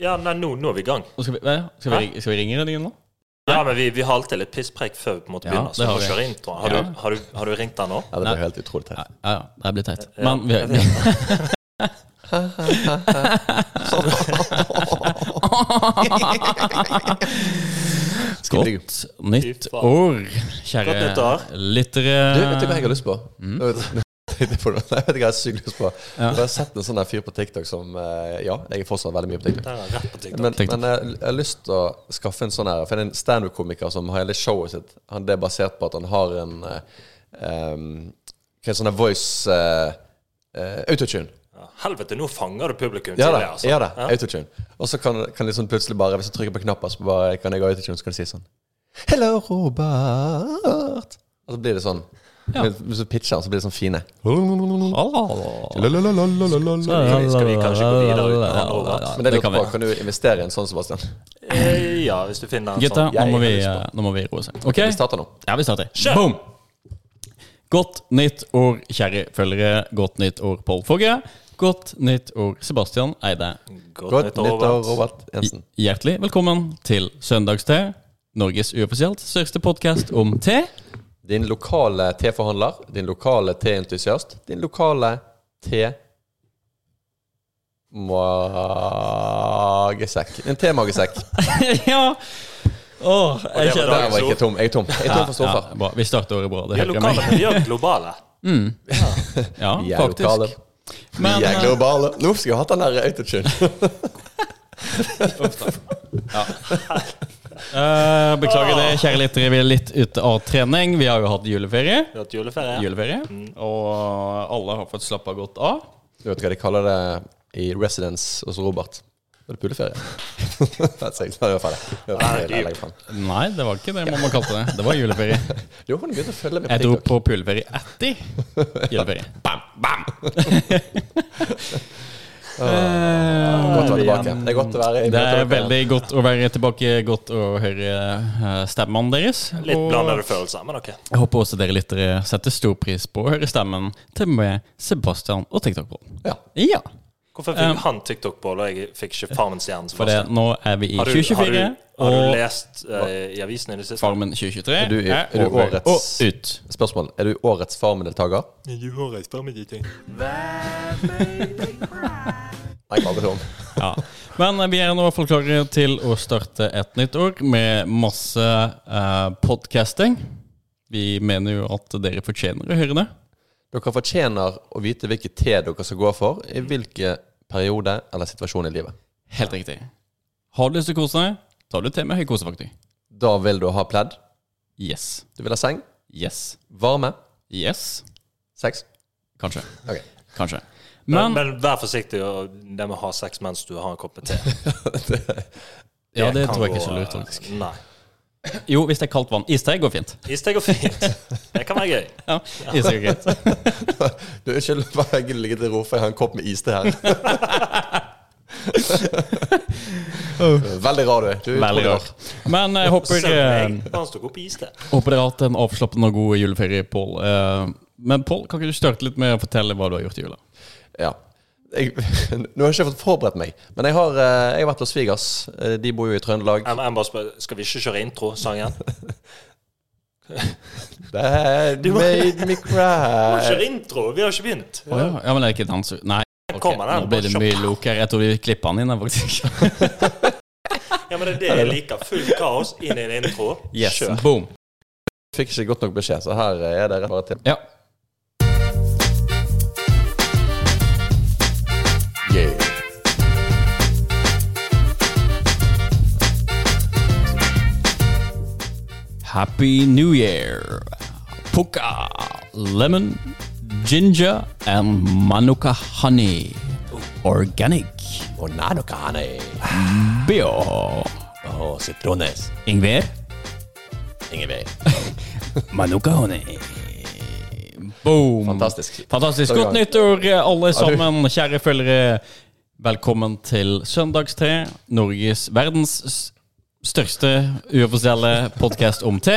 Ja, nei, nå, nå er vi i gang. Nå skal, vi, ja, skal, vi, ring- skal vi ringe den igjen nå? Ja, men vi, vi har alltid litt pisspreik før vi på en måte Ja, begynner. Så det vi har får vi. kjøre introen. Har, Ja. du, har, du, har du ringt den nå? Ja, det Nei. blir helt utrolig Ja, teit. ja, det blir teit. Ja. Men vi, Jeg vi, vet ikke. Godt nytt Fy faen. år, Godt nytt kjære år. lyttere. Du, vet du hva jeg har lyst på? Mm. Jeg Vet, jeg vet ikke hva jeg har sykt lyst på. Jeg har sett en sånn der fyr på TikTok som eh, Ja, jeg er fortsatt veldig mye på TikTok. Der er rett på TikTok. Men, TikTok. men jeg, jeg har lyst til å skaffe en sånn her. For det er en standup-komiker som har hele showet sitt Han Det er basert på at han har en eh, em, Hva er sånn her voice uh, Autotune. Ja, helvete, nå fanger du publikum Ja da. tidlig, altså. Ja da Autotune. Og så kan, kan liksom plutselig bare Hvis jeg trykker på knappen, så bare kan jeg ha autotune, så kan jeg si sånn Hello, Robert. Og så blir det sånn. Hvis- Hvis du pitcher den, så blir det sånn fine. Hallo. Skal, vi, skal vi kanskje gå videre uten han Robert? Men det, Det lurer kan på, vi. kan du investere i en sånn, Sebastian? Eh, Ja, hvis du finner en Gutta, sånn. nå må vi, eh, Jeg har nå må vi roe oss. Ok? Vi starter nå. Ja, vi starter. Kjør! Boom! Godt nytt år, kjære følgere. Godt nytt år, Pål Fogge. Godt nytt år, Sebastian Eide. sånn- Godt Godt nytt år, nyttår, Robert. Robert Jensen. Hjertelig velkommen til Søndagste. Norges uoffisielt største podkast om te. Din lokale teforhandler, din lokale teentusiast, din lokale te... Magesekk. En temagesekk. ja! Åh, jeg det var kjenner Der var jeg ikke tom. Jeg er tom. Jeg er tom for ja, stoffer. bra. Vi starter året bra. Vi er Det hører jeg lokale, meg. men vi er globale. Ja, Vi er faktisk. lokale. Men, Vi er eh, globale. Nå skulle jeg hatt den der autotune. eh, beklager det, kjære lyttere. Vi er litt ute av trening. Vi har jo hatt juleferie. Vi har hatt juleferie. juleferie. Mm. Og alle har fått slappa godt av. Du vet hva de kaller det i Residence hos Robert? Det er puleferie. That's it. Da er jeg ferdig. Da er jeg ferdig. Jeg legger frem. Nei, det var ikke det mamma kalte det. Det var juleferie. Du har begynt å følge med Jeg på dro TikTok. på puleferie etter juleferie. Bam, bam! Godt å være tilbake. Det er godt å være i Det Eh, er møte med dere. veldig godt å være tilbake. Godt å høre eh, stemmen deres. Litt Og blandede følelser, men ok. jeg håper også dere lyttere setter stor pris på å høre stemmen til meg, Sebastian og TikTok-bollen. Ja. Ja. Hvorfor fikk han TikTok-bål, og jeg fikk ikke Farmens stjerne? sånn. For det, nå er vi i 2024, har du, har du og lest eh, i avisen i det siste? Farmen 2023 Er du- er du over årets- og ut. Spørsmål. Er du årets Farmen-deltaker? Nei, jeg aldri om. Ja. Men eh, vi er nå i hvert fall klare til å starte et nytt år med masse eh, podcasting. Vi mener jo at dere fortjener å høre det. Dere fortjener å vite hvilket te dere skal gå for, i hvilken periode eller situasjon i livet. Helt riktig. Har du lyst til å kose deg, tar du til med høykosefaktor. Da vil du ha pledd, Yes. du vil ha seng, Yes. varme, Yes. sex. Kanskje. Ok. Kanskje. Men, Men men vær forsiktig og det med å ha sex mens du har en kopp med te. Ja, det kan tror jeg ikke er gå, så lurt, eh, faktisk. Nei. Jo, hvis det er kaldt vann. Iste går fint. Isteg går fint. Det kan være gøy. Ja, iste går greit. Du, Unnskyld, bare jeg ligger til ro, for jeg har en kopp med iste her. Veldig rar du er. Du er Veldig utrolig rar. Men jeg håper Selv eh, jeg bare tok opp iste. Håper dere har hatt en avslappende og god juleferie, Pål. Eh, Men Pål, kan ikke du starte litt med å fortelle hva du har gjort i jula? Ja. Jeg, nå har jeg ikke fått forberedt meg, men jeg har, eh, jeg har vært hos svigers. Eh, De bor jo i Trøndelag. Jeg, jeg bare spør, skal vi ikke kjøre intro-sangen? That må- made me Vi cry. kjører intro, vi har ikke begynt. Å ja. ja, men det er ikke dans... Nei. ok, Kommer den, Nå blir det bare mye lok her. Jeg tror vi klipper den inn her, faktisk. Ja, men det er det jeg liker. Fullt kaos inn i en intro. Yes, Kjør. boom. Fikk ikke godt nok beskjed, så her eh, er det rett bare til. Ja. Yeah. Happy New Year. Puka, lemon, ginger and manuka honey. Organic. Og nanokane. Bio. Og sitrones. Ingvild. Ingevei. Manuka honey. Boom. Fantastisk. Fantastisk. Da er vi Godt i gang. nyttår, eh, alle sammen, kjære følgere. Velkommen til Søndagstre, Norges verdens s- største uoffisielle podkast om te.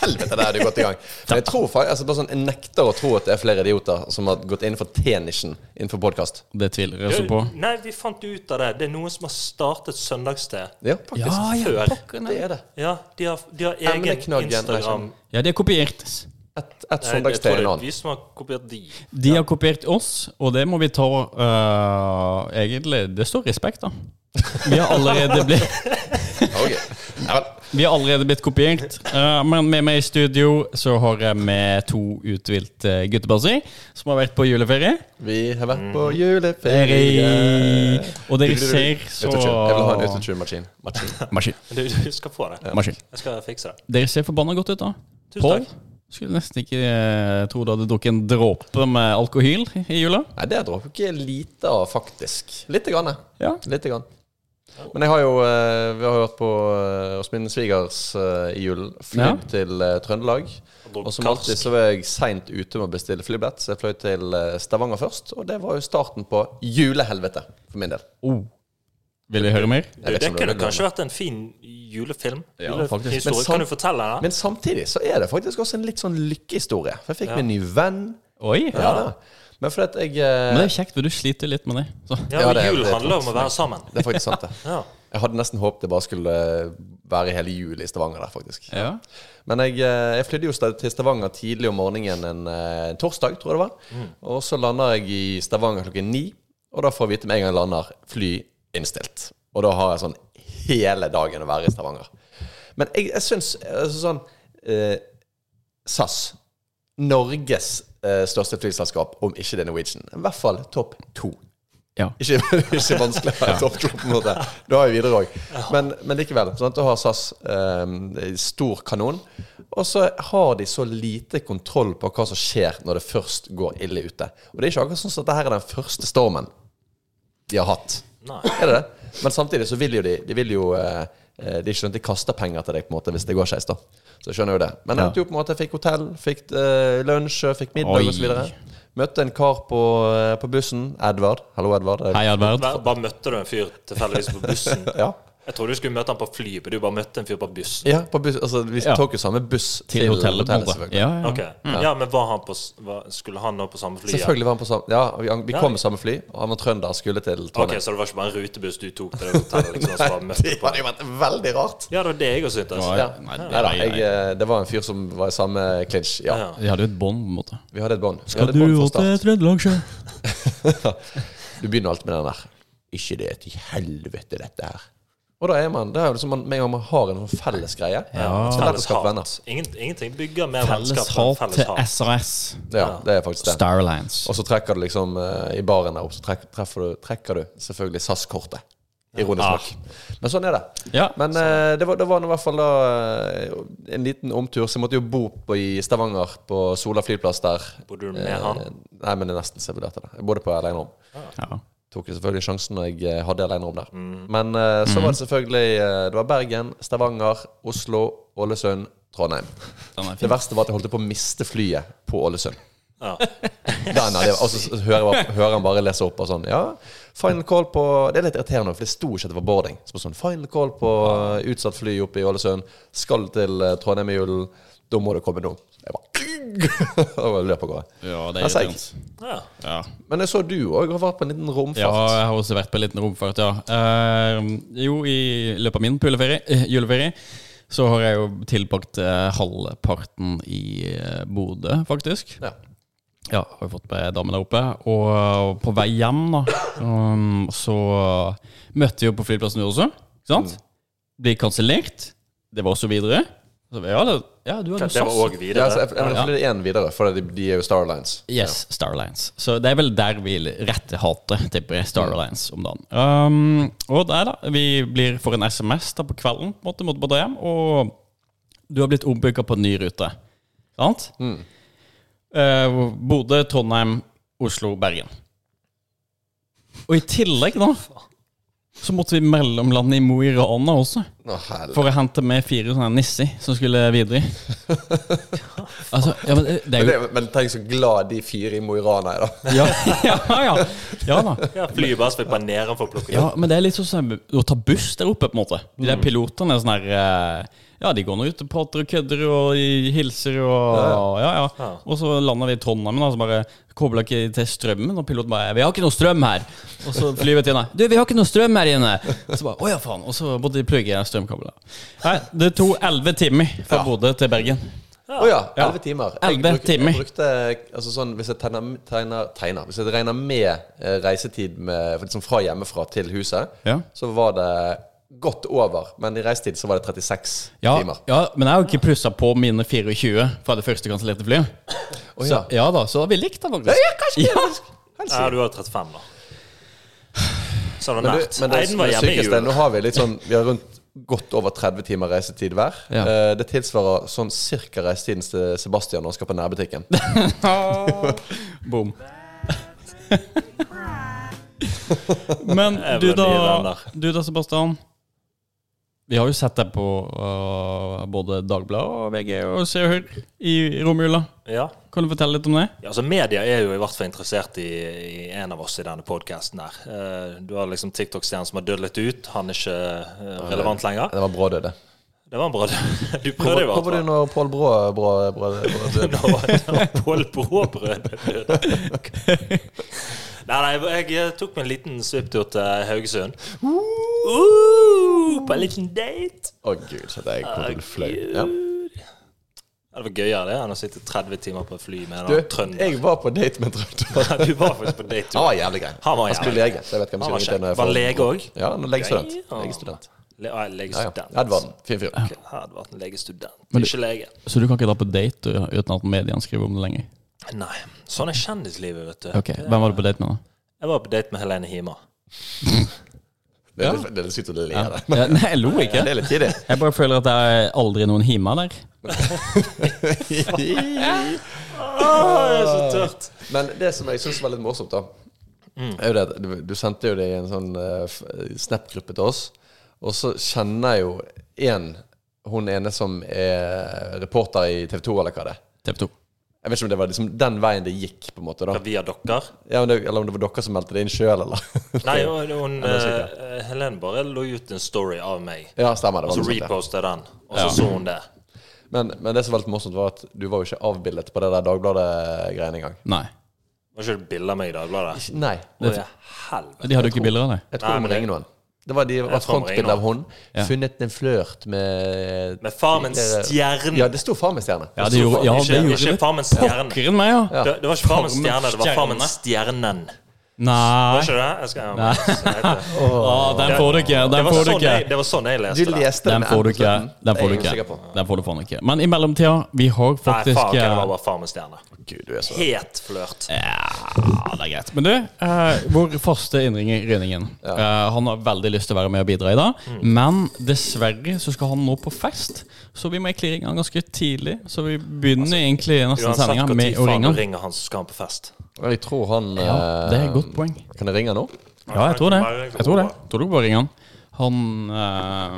Helvete, der er du godt i gang. Men jeg tror faktisk, altså bare sånn, jeg nekter å tro at det er flere idioter som har gått innenfor T-nisjen innenfor podkast. Det tviler jeg Du, også på. Nei, vi fant jo ut av det. Det er noen som har startet søndagssted. Ja, faktisk. før. pokker, nei. Det er det. Ja, de har, de har egen Emneknaggen er Instagram. sånn. Ja, de har kopiert. Et, et Nei, jeg tror søndagste det en er annen. vi som har kopiert de. De har kopiert oss, og det må vi ta eh, Egentlig, det står respekt, da. Vi har allerede blitt Ok. Ja, vel. Vi har allerede blitt kopiert, eh, men med meg i studio så har jeg med to uthvilte guttebasser som har vært på juleferie. Vi har vært på juleferie. Og dere ser så Autotune. Mhm. Jeg vil ha en autotune-maskin. Maskin. Maskin. Du, du skal få det. Maskin. Jeg skal fikse det. Dere ser forbanna godt ut, da. Tusen Pål, takk. skulle nesten ikke eh, tro du hadde drukket en dråpe med alkohol i jula. Nei, det drakk jeg ikke lite av, faktisk. Lite grann. Ja. Lite grann. Men jeg har jo eh, Vi har jo vært på eh, hos min svigers eh, i julen. Flydd Ja. til eh, Trøndelag. Og Og som alltid så var jeg seint ute med å bestille flybillett, så jeg fløy til eh, Stavanger først. Og det var jo starten på julehelvete for min del. Oh. Vil vi høre mer? Du, det vet ikke om det kunne er noe. kanskje vært en fin julefilm? Ja, faktisk. Men Julehistorie. sant- Kan du fortelle den? Men samtidig så er det faktisk også en litt sånn lykkehistorie. For jeg fikk meg en ny venn. Oi. Ja, da. Men fordi at jeg eh, Men det er kjekt, for du sliter litt med det. Så. Ja, Ja, men det er- jul det er handler om tungt å for meg. være sammen. Det er faktisk sant, det. Ja. Jeg hadde nesten håpet det bare skulle eh, være hele jul i Stavanger der, faktisk. Ja. Men jeg, eh, jeg flydde jo sta- til Stavanger tidlig om morgenen en, eh, en torsdag, tror jeg det var. Mm. Og så lander jeg i Stavanger klokken ni, og da får jeg vite med en gang jeg lander, fly innstilt. Og da har jeg sånn hele dagen å være i Stavanger. Men jeg, jeg syns altså sånn eh, SAS, Norges eh, største flyselskap, om ikke det er Norwegian, i hvert fall topp to. Ja. Ikke, ikke vanskelig å være topp to, på en måte. Det har jeg videre òg. Men, men likevel. Sånn at du har SAS eh, stor kanon. Og så har de så lite kontroll på hva som skjer når det først går ille ute. Og det er ikke akkurat sånn at dette her er den første stormen de har hatt. Nei. Er det det? Men samtidig så vil jo de De vil jo eh, eh, de skjønner at de kaster penger til deg på en måte hvis det går skeis. da. Så jeg skjønner jo det. Men jeg endte jo på en måte fikk hotell, fikk eh, lunsj, fikk middag Oi. osv. Møtte en kar på, eh, på bussen. Edvard. Hallo, Edvard. Hei, Adverd. Bare bare møtte du en fyr tilfeldigvis på bussen? Ja. Jeg trodde du skulle møte han på flyet, men du bare møtte en fyr på bussen. Ja, på buss, altså, vi Ja. tok jo samme buss Til hotellet, på en måte. selvfølgelig. Ja, ja. Ok, ja, men var han på, s- var, Skulle han nå på samme fly? ja? Selvfølgelig var han på samme Ja, vi, vi kom med samme fly, og han var trønder, skulle til Trondheim. Ok, Så det var ikke bare en rutebuss du tok til det hotellet? Liksom, som var møtte det på. hadde jo vært veldig rart. Ja, det var det jeg også syntes. Ja, Ja. Nei, Nei, det- da, jeg, eh, det var en fyr som var i samme clinch. Ja, Ja. Vi hadde jo et bånd, på en måte. vi hadde et bånd. Vi hadde et bånd fra start. Trøndelag sjø? Du begynner alltid med den der Ikke det til helvete, dette her. Og da er man Det er jo liksom man, Med en gang man har en sånn felles greie, så er det lett å Felles skape venner. hat. Ingen, ingenting bygger mer Felles vennskap enn hat felles til hat. SAS. Ja, det er faktisk det. Starlines. Og så trekker du liksom eh, i baren der opp, så trek- treffer du, trekker du selvfølgelig SAS-kortet. Ironisk nok. Men sånn er det. Ja. Men eh, det var, det var nå i hvert fall da eh, en liten omtur, så jeg måtte jo bo på, i Stavanger, på Sola flyplass der. Bodde du med han? Eh, Nei, men det er nesten så jeg vurderte det. Jeg bodde på alenerom. Ja. Tok jo selvfølgelig sjansen når jeg eh, hadde alenerom der. Men eh, så var det selvfølgelig eh, Det var Bergen, Stavanger, Oslo, Ålesund, Trondheim. Den er Det fin. verste var at jeg holdt på å miste flyet på Ålesund. Ja. Nei, nei, det, og så så hører, jeg- hører han bare lese opp og sånn Ja, final call på Det er litt irriterende, for det sto ikke at det var boarding. Så bare sånn, Final call på eh, utsatt fly oppe i Ålesund. Skal til eh, Trondheim i julen. Da må det komme nå. Jeg bare, og løp av gårde. Ja, det Men er seig. irriterende. Ja. Ja. Men jeg så du òg har vært på en liten ja, romfart. jeg har også vært på en liten romfart, ja. Eh, jo, i løpet av min puleferie, eh, juleferie så har jeg jo tilbrakt eh, halvparten i eh, Bodø, faktisk. Ja. Ja, har jo fått med damen der oppe. Og eh, på vei hjem, da, um, så møtte vi jo på flyplassen vi også. Ikke sant? Ble kansellert. Det var også videre. Så, ja, det, ja, du hadde Det var SAS. òg Ja, videre. altså, jeg, jeg, jeg, det er en videre, for de, de er jo Star Lines. Yes, Starlines. Så det er vel der vi rette hatet, tipper jeg. Starlines om dagen. Um, og der, da. Vi blir for en SMS da på kvelden, på en måte, måtte bare dra hjem. Og du har blitt ombooka på en ny rute. Sant? Eh, Bodø, Trondheim, Oslo, Bergen. Og i tillegg, da, så måtte vi mellomlande i Mo i Rana også. Å, helvete. For å hente med fire sånne nisser som skulle videre. Altså, ja, men det er jo Det- Men tenk så glad de fire i Mo i Rana er, da. Ja, ja, ja. ja da. Ja, flyet bare svipper nedenfor for å plukke Ja, det opp. men det er litt sånn som å ta buss der oppe, på en måte. De der pilotene er sånn her eh, Ja, de går nå ut og prater og kødder og de hilser og Ja, ja. Ja. Og så lander vi i Trondheim, og så bare kobler ikke til strømmen, og piloten bare 'Vi har ikke noe strøm her'. Og så flyvertinna 'Du, vi har ikke noe strøm her inne'. Og så bare 'Å ja, faen'. Og så måtte de plugge i strømkabler. Nei, det tok elleve timer fra Bodø til Bergen. Å ja, elleve timer. Jeg 11 brukte- timer. Jeg brukte, altså sånn, hvis jeg tegner, tegner, tegner Hvis jeg regner med eh, reisetid med, for liksom fra hjemmefra til huset, Ja. så var det godt over. Men i reisetid så var det 36 Ja, timer. ja, men jeg har jo ikke plussa på mine 24 fra det første kansellerte flyet. Å Så, ja. ja da, så vi likte det faktisk. Ja, ja, kanskje det, faktisk. Ja, du har 35, da. Så det Men, er du, nært. men det, Nei, den var det hjemme i sykeste jul. Nå har vi litt sånn Vi har rundt godt over 30 timer reisetid hver. Ja. Eh, Det tilsvarer sånn cirka reisetiden til Sebastian når han skal på nærbutikken. Boom. Men du Even i den da, der. du da, Sebastian. Vi har jo sett deg på øh, både Dagbladet og VG og Se og Hør i romjula. Ja. Kan du fortelle litt om det? Ja, altså Media er jo i hvert fall interessert i, i en av oss i denne podkasten her. Eh, Du har liksom TikTok-stjernen som har dødd litt ut. Han er ikke eh, relevant lenger. Det var Brå døde. Det var en bra Du Hvor prøvde i hvor hvert var du fall. når Da var det var Pål Pål Brå Brå Brå Brå døde? Bråbrød. Nei, nei, jeg tok meg en liten svipptur til Haugesund. Uh, på en liten date. Å gud, så det er Å, jeg flau. Gud. Ja. Ja, Det var gøyere det enn å sitte 30 timer på et fly med en Du, trønder. jeg var på date med en trønder. Ja, Du var faktisk på date. du. Han var jævlig grei. Han var Han skulle jævlig. lege. så Jeg vet ikke om Han jeg var skal kjekk. ringe til når jeg Var får- lege òg? Ja, han er legestudent. Legestudent. Ja, Ja, ja. ah, legestudent. Edvard. Fin fyr. Ok, hadde vært en legestudent, ikke lege. Så du kan ikke dra på date øh, uten at mediene skriver om det lenger? Nei. Sånn er kjendislivet, vet du. Ok, Hvem var du på date med, da? Jeg var på date med Helene Hima. Det er litt- det er litt sykt å le av det. Ja, nei, jeg lo ikke. Det er litt tidlig. Jeg bare føler at det er aldri noen hima der. Ah, det er så tørt. Men det som jeg syns var litt morsomt, da er jo det at du, du sendte jo det i en sånn eh, f- Snap-gruppe til oss, og så kjenner jeg jo én Hun ene som er reporter i TV 2, eller hva det er. TV 2. Jeg vet ikke om det var liksom den veien det gikk, på en måte. da Via dere. ja, om det, Eller om det var dere som meldte det inn sjøl, eller? Nei, hun, hun, det er sikkert. eh, Helene bare lå ut en story av meg. Ja, stemmer. det Så var noe sånt, ja. repostet jeg den, og så så hun det. Men, men det som var litt morsomt, var at du var jo ikke avbildet på det der Dagbladet-greiene engang. Nei. Var ikke det bilde av meg i Dagbladet? Nei. Å, ja, helvete. De hadde jo ikke bilder av deg. Jeg Nei, tror de men må det- ringe noen. Det var, de, var et tror de må ringe frontbilde av hun. Funnet en flørt med Med Farmens stjerne. Ja, det sto Farmens stjerne. Ja, det gjorde, ja, det Ikke, gjorde ikke det. Farmens stjerne. Pokker enn meg, ja. Det, det var ikke Farmens Farmens stjerne, det var stjerne. Farmens stjernen. Nei. Var ikke det? Jeg skal, ja, så heter det. Å, den får du ikke. Det Den var får du sånn ikke. jeg, det var sånn jeg Du leste det. leste det Den med får du M på ikke. slutten. Den får du Jeg er ikke. usikker på. Den får du faen ikke. Men i mellomtida, vi har Nei, faen, faktisk ok, det eh, var bare Farmens stjerne. Gud, du er så Het flørt. Ja, det er greit. Men du, eh, vår faste innringer Rønningen, eh, han har veldig lyst til å være med og bidra i dag. Mm. Men dessverre så skal han nå på fest, så vi må egentlig ringe han ganske tidlig. Så vi begynner egentlig nesten Altså, Uansett sendinga hvor tid med å faen ringe du han. ringer han, så skal han på fest. Jeg tror han Ja, det er eh, et godt poeng. Kan jeg ringe nå? Ja, jeg tror det. Bare ringe Jeg tror det. Ola. Tror du bare ringer han. Han eh,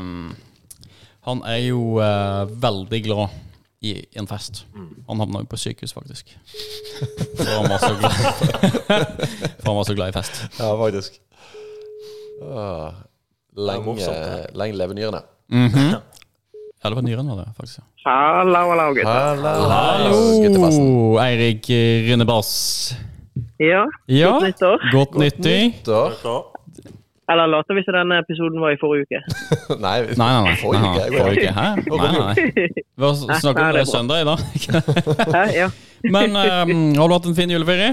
Han er jo eh, veldig glad i en fest. Han havna jo på sykehus, faktisk. For han var så glad For han var så glad i fest. Ja, faktisk. Lenge, morsomt, det. Ah, lenge leve nyrene. Ja, det var nyren, var det, faktisk. ja. Hallo, hallo, gutter. Hallo, guttebassen. Hallo, Oh, Eirik Rynnebass. Ja, Ja, godt nyttår. godt nyttår. Da- Er du klar? Eller later vi som denne episoden var i forrige uke? Nei, Nei, vi- nei, nei. Forrige nei, uke, nei, jeg går Forrige uke. Hæ? Nei, nei, nei. Vi har snakket Nei, om det det er bra. søndag i dag. Hæ? Ja. Men eh, har du hatt en fin juleferie?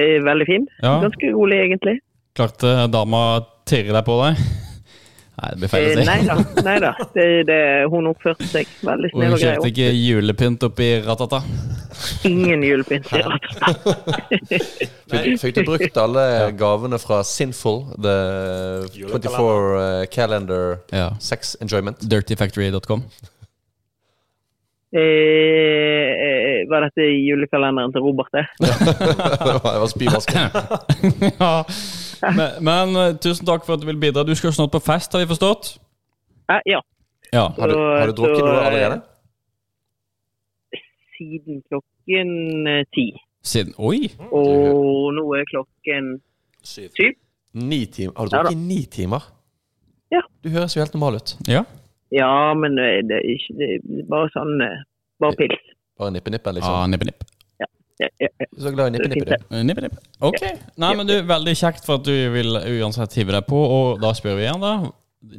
Eh, Veldig fin. Ja. Ganske rolig, egentlig. Klarte eh, dama å tirre deg på deg? Nei, det blir feil Eh, å si. Nei da. Nei da. Det, det, hun oppførte seg veldig Og snill hun og grei. kjøpte ikke julepynt oppi ratata? og Ingen julepynt. i rett. Fikk, fikk du brukt alle gavene fra Sinful, the 24 eh, calendar Ja. sex enjoyment? Dirtyfactory.com. Eh, eh, Var dette i julekalenderen til Robert, det? det var spyvasker. ja. Men, men eh, tusen takk for at du vil bidra. Du skal jo snart på fest, har vi forstått? Eh, ja. Ja. Har du, har du Så, drukket noe eh, allerede? Siden klokken eh, ti. Siden Oi! Og nå er klokken Syv. syv. Ni timer? Har du Ja da. drukket i ni timer? Ja. Du høres jo helt normal ut. Ja. Ja, men eh, det er ikke det er bare sånn eh, Bare pils. Bare nippe-nippen, liksom. Ah, nippe, nipp. Ja, ja, ja. Du er så glad i Det er nippe-nippe, fint, du. Nippe, nipp. Ok. Nei, men du, veldig kjekt for at du vil uansett hive deg på, og da spør vi igjen, da.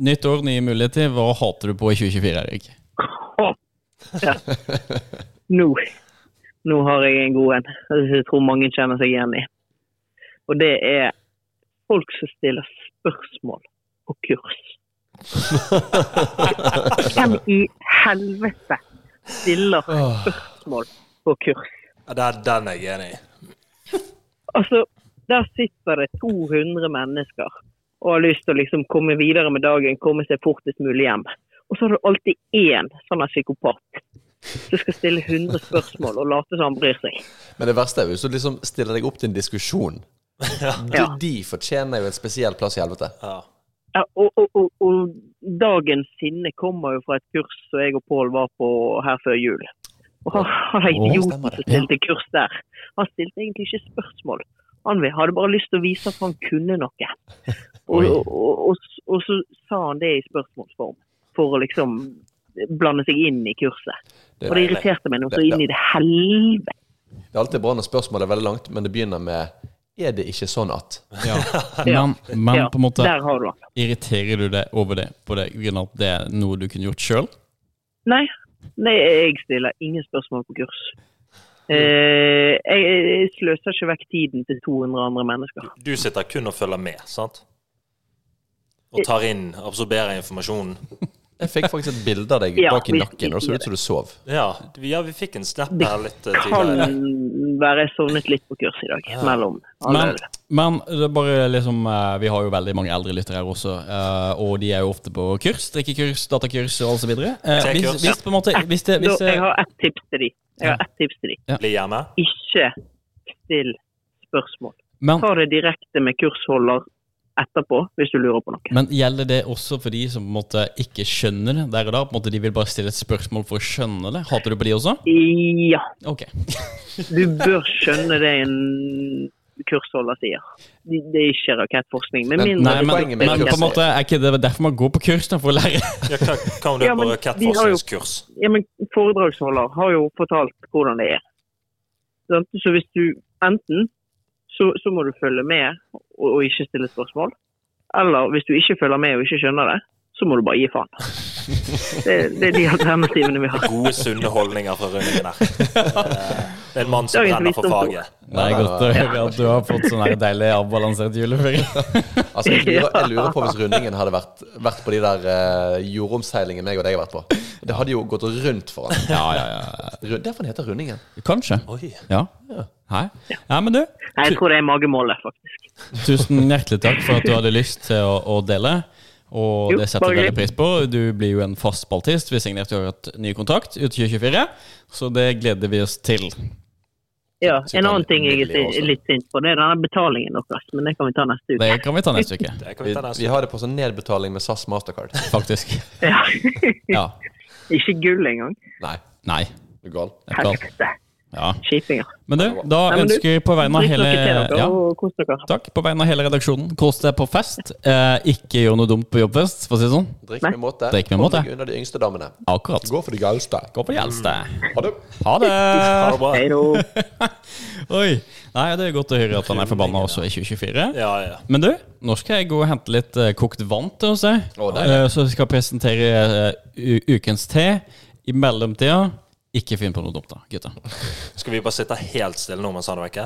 Nytt år, nye muligheter. Hva hater du på i 2024, Erik? Åh! Ja. Nå. Nå har jeg en god en som jeg tror mange kjenner seg igjen i. Og det er folk som stiller spørsmål på kurs. Hvem i helvete stiller spørsmål på kurs? Ja, det er den jeg er enig i. Altså, der sitter det 200 mennesker og har lyst til å liksom komme videre med dagen, komme seg fortest mulig hjem. Og så har du alltid én sånn her psykopat som skal stille 100 spørsmål og late som han bryr seg. Men det verste er jo hvis du liksom stiller deg opp til en diskusjon. De, Ja. de fortjener jo en spesiell plass i helvete. Ja. Ja, og, og, og, og dagens sinne kommer jo fra et kurs som jeg og Pål var på her før jul. Og han han er Å, idioten stemmer det. som stilte kurs der. Han stilte egentlig ikke spørsmål. Han vil- hadde bare lyst til å vise at han kunne noe. Og, Oi. og, og, og, s- og så sa han det i spørsmålsform, for å liksom blande seg inn i kurset. Det, Og det irriterte meg noe så Det- inn i det helvete. det er alltid bra når spørsmålet er veldig langt, men det begynner med Er det ikke sånn at Ja. Men, men Ja, på en måte, der har du han. irriterer du deg over det på det, grunn av at det er noe du kunne gjort sjøl? Nei, nei, jeg stiller ingen spørsmål på kurs. Eh, jeg, jeg sløser ikke vekk tiden til 200 andre mennesker. Du sitter kun og følger med, sant? Og tar inn, absorberer informasjonen. Jeg fikk faktisk et bilde av deg Ja, bak i vi- nakken, og det så ut som du sov. Ja, vi- ja, vi fikk en snap Det her litt eh, Kan tidligere. være jeg sovnet litt på kurs i dag. Mellom alle. Men, men det er bare liksom eh, Vi har jo veldig mange eldre lyttere her også, eh, og de er jo ofte på kurs. Drikkekurs, datakurs og alt så videre. Eh, Tekurs. Hvis, hvis på en måte hvis det, hvis Da, det, jeg har ett tips til de. Jeg har ett tips til de. Bli hjemme. Ikke still spørsmål. men, Ta det direkte med kursholder etterpå hvis du lurer på noe. men gjelder det også for de som på en måte ikke skjønner det der og da? På en måte De vil bare stille et spørsmål for å skjønne det. Hater du på de også? Ja, Ok. du bør skjønne det en kursholder sier. Det det er ikke rakettforskning. Med Men- mindre Nei, du men, poenget med men på kurs- en måte er ikke det derfor man går på kurs, da, for å lære? Ja, hva, hva om du Ja, er på men vi har jo- rakettforskningskurs? ja, men foredragsholder har jo fortalt hvordan det er. Sant? Så hvis du enten så, så må du følge med og, og ikke stille spørsmål. Eller hvis du ikke følger med og ikke skjønner det, så må du bare gi faen. Det, det er de alternativene vi har. Gode, sunne holdninger fra Rønningen her. Eh, Det er en mann som Dagens brenner for visdomsord. faget. Det er godt å høre at du har fått sånn her deilig avbalansert juleferie. Altså, jeg lurer, jeg lurer på hvis rundingen hadde vært, vært på de der eh, jordomseilingene meg og deg har vært på. Det hadde jo gått rundt for han. Ja, ja, ja. Rund- Derfor den heter rundingen. Kanskje. Oi. Ja. Hei. Ja, men du, Nei, jeg tror det er magemålet, faktisk. tusen hjertelig takk for at du hadde lyst til å, å dele. Og Jo, det setter bare vi veldig hyggelig. pris på. Du blir jo en fast spaltist. Vi signerte jo et ny kontrakt ut 2024, så det gleder vi oss til. Ja, Så En tar annen vi ting jeg er midler si- også. litt sint på, det er denne betalingen deres. Men det kan vi ta neste uke. Det kan vi ta neste uke, Det Eh, kan Vi, vi ta neste vi har det på sånn nedbetaling med SAS Mastercard. faktisk. Ja. Ja. ikke gull engang. Nei, Nei. du er gal. det er klart. Helvete. Ja. Kjipinger. Men du, da Nei, men du, ønsker på vegne av Drikk hele dere til dere ja. Eh, og kos dere. Takk. På vegne av hele redaksjonen. Kos deg på fest. Eh, ikke gjør noe dumt på jobbfest, for å si det sånn. Drikk Nei. med måte. Drikk med Hold måte. deg unna de yngste damene. Akkurat. Gå for de galste. Gå på de eldste. Ha det. Ha det! Ha det bra. Hei da. Oi. Nei, det er godt å høre at han er forbanna også i 2024. Ja, ja. Men du, nå skal jeg gå og hente litt eh, kokt vann til oss. jeg. Å, deilig. Eh, så vi skal presentere eh, u- ukens te. I mellomtida, ikke finn på noe dumt, da, gutta. Skal vi bare sitte helt stille nå mens han er vekke?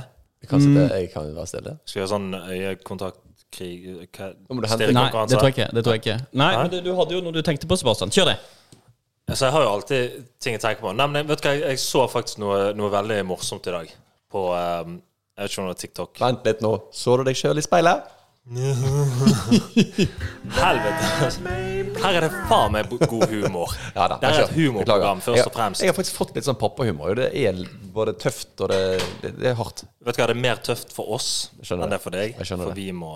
Mm. Kan sitte, jeg kan være stille. Skal vi ha sånn øyekontaktkrig hva- Nå må du hente- Nei, stirrekonkurranse? det tror jeg ikke. det tror jeg ikke. Nei, men du, du hadde jo noe du tenkte på, Sebastian. Kjør det. Altså, jeg har jo alltid ting jeg tenker på. Nei, men vet du hva, jeg, jeg så faktisk noe, noe veldig morsomt i dag på eh, Jeg vet ikke om det var TikTok. Vent litt nå. Så du deg sjøl i speilet? Helvete! Her er det faen meg bo- god humor. Ja da. det er kjør. et humorprogram, Beklager. først og Jeg- fremst. Jeg har faktisk fått litt sånn pappahumor. Det er både tøft og det, det, det er hardt. Vet du hva, det er mer tøft for oss Jeg skjønner enn det det. er for deg. Jeg skjønner For det. vi må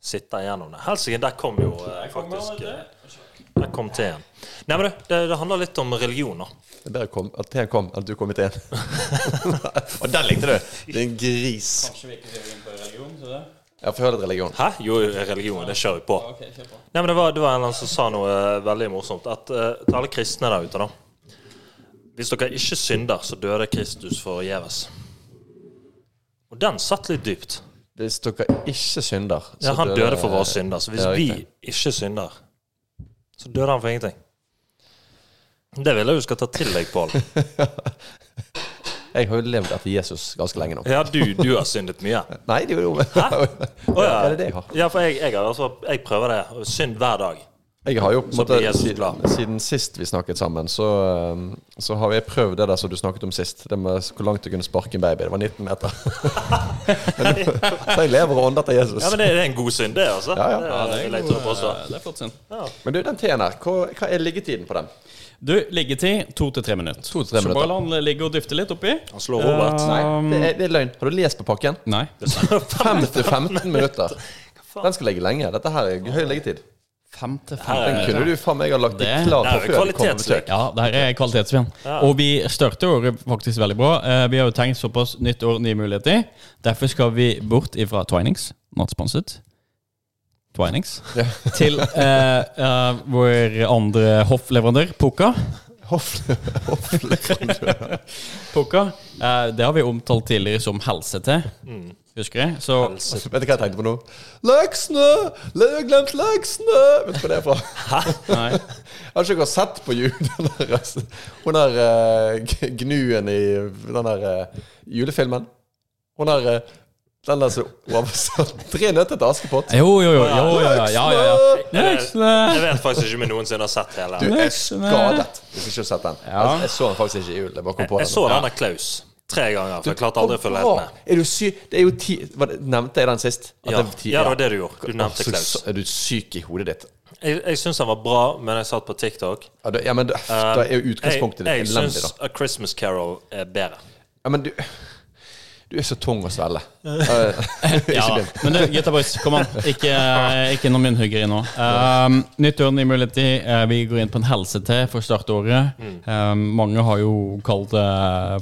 sitte igjennom det. Helsike, der kom jo eh, faktisk eh, Der kom teen. Nei, men du, det, det handler litt om religion, da. Det er bedre kom, at Thea kom, enn at du kom i Thea. og den likte du! Din gris. Kanskje vi ikke driver inn på religion? Så det? Ja, få høre litt religion. Hæ? Jo, religion. Det kjører vi på. Ok, kjør på. Nei, men det var, det var en eller annen som sa noe eh, veldig morsomt. At eh, Til alle kristne der ute, da. Hvis dere ikke synder, så døde Kristus forgjeves. Og den satt litt dypt. Hvis dere ikke synder så Ja, han dør døde det- for våre synder. Så hvis Ja, vi riktig. ikke synder, så døde han for ingenting. Det vil jeg du skal ta til deg, Pål. Jeg har jo levd etter Jesus ganske lenge nå. Ja, du, du har syndet mye. Nei, det gjorde jo Å, Ja, det er det jeg har. Ja, for jeg, jeg, har altså, jeg prøver det. og Synd hver dag. Jeg har jo på en Så blir måte, Jesus glad. siden, siden sist vi snakket sammen, så, um, så har jeg prøvd det der som du snakket om sist. Det med hvor langt du kunne sparke en baby. Det var 19 meter. så jeg lever og ånder til Jesus. Ja, Men det, det er en god synd, det, altså. Ja, ja. Det, Ja, det vil er, jeg jo, tro på også. eh, det er flott syn. Men du, den T-en her, hva, hva er liggetiden på den? Du, liggetid to til tre minutter. Altså. To til tre Så minutter. bare la han eh, ligge og dyfte litt oppi. Han slår Robert. Nei, det er, det er løgn. Har du lest på pakken? Nei. 5 til 15 minutter. Den skal ligge lenge. Dette her er høy liggetid. Fem til Her Den fem. kunne du faen meg ha lagt det Det- klar det er jo for før vi kom på kvalitetsligg. besøk. Ja, det her er kvalitetsvin. Og vi starter året faktisk veldig bra. Eh, Vi har jo tenkt såpass nytt år, nye muligheter. Derfor skal vi bort ifra Twinings, not sponset, Twinings, til eh, eh, vår andre hoffleverandør, Pukka. Hoff- Pukka, eh, det har vi omtalt tidligere som helse-te. Husker jeg? Så Vet du hva jeg tenkte på nå? Leksene! Jeg har glemt leksene! Vet du hvor det er fra? Nei. Jeg har ikke dere sett på jul den der, Hun der eh, g- gnuen i den der eh, julefilmen? Hun der eh, Den der som oversatt Tre nøtter til Askepott. Jo, jo, jo. jo, jo, jo ja, ja, ja. Jeg Leksene! vet faktisk ikke om jeg noensinne har sett hele. Du er Leksene. skadet hvis du ikke har sett den. Ja. Jeg, jeg så den faktisk ikke i jul. Jeg bare kom på Jeg den. så denne Klaus tre ganger, for jeg klarte aldri å følge helt Bra. med. Er du sy... Det er jo ti... Var det, nevnte jeg den sist? At Ja, var ti- ja, det var det du gjorde. Du nevnte Så- Klaus. så Er du syk i hodet ditt? Jeg, jeg syns han var bra, men jeg satt på TikTok. Ja, det- ja men da, da er jo utgangspunktet Eh, jeg ditt jeg elendig, syns da. A Christmas Carol er bedre. Ja, men du Du er så tung å svelge. Ja, men du, gutta boys, kom an. Ikke, ikke noe munnhuggeri nå. Um, nytt år, ny mulighet. Eh, vi går inn på en helse-te for å starte året. Mm. Um, mange har jo kalt det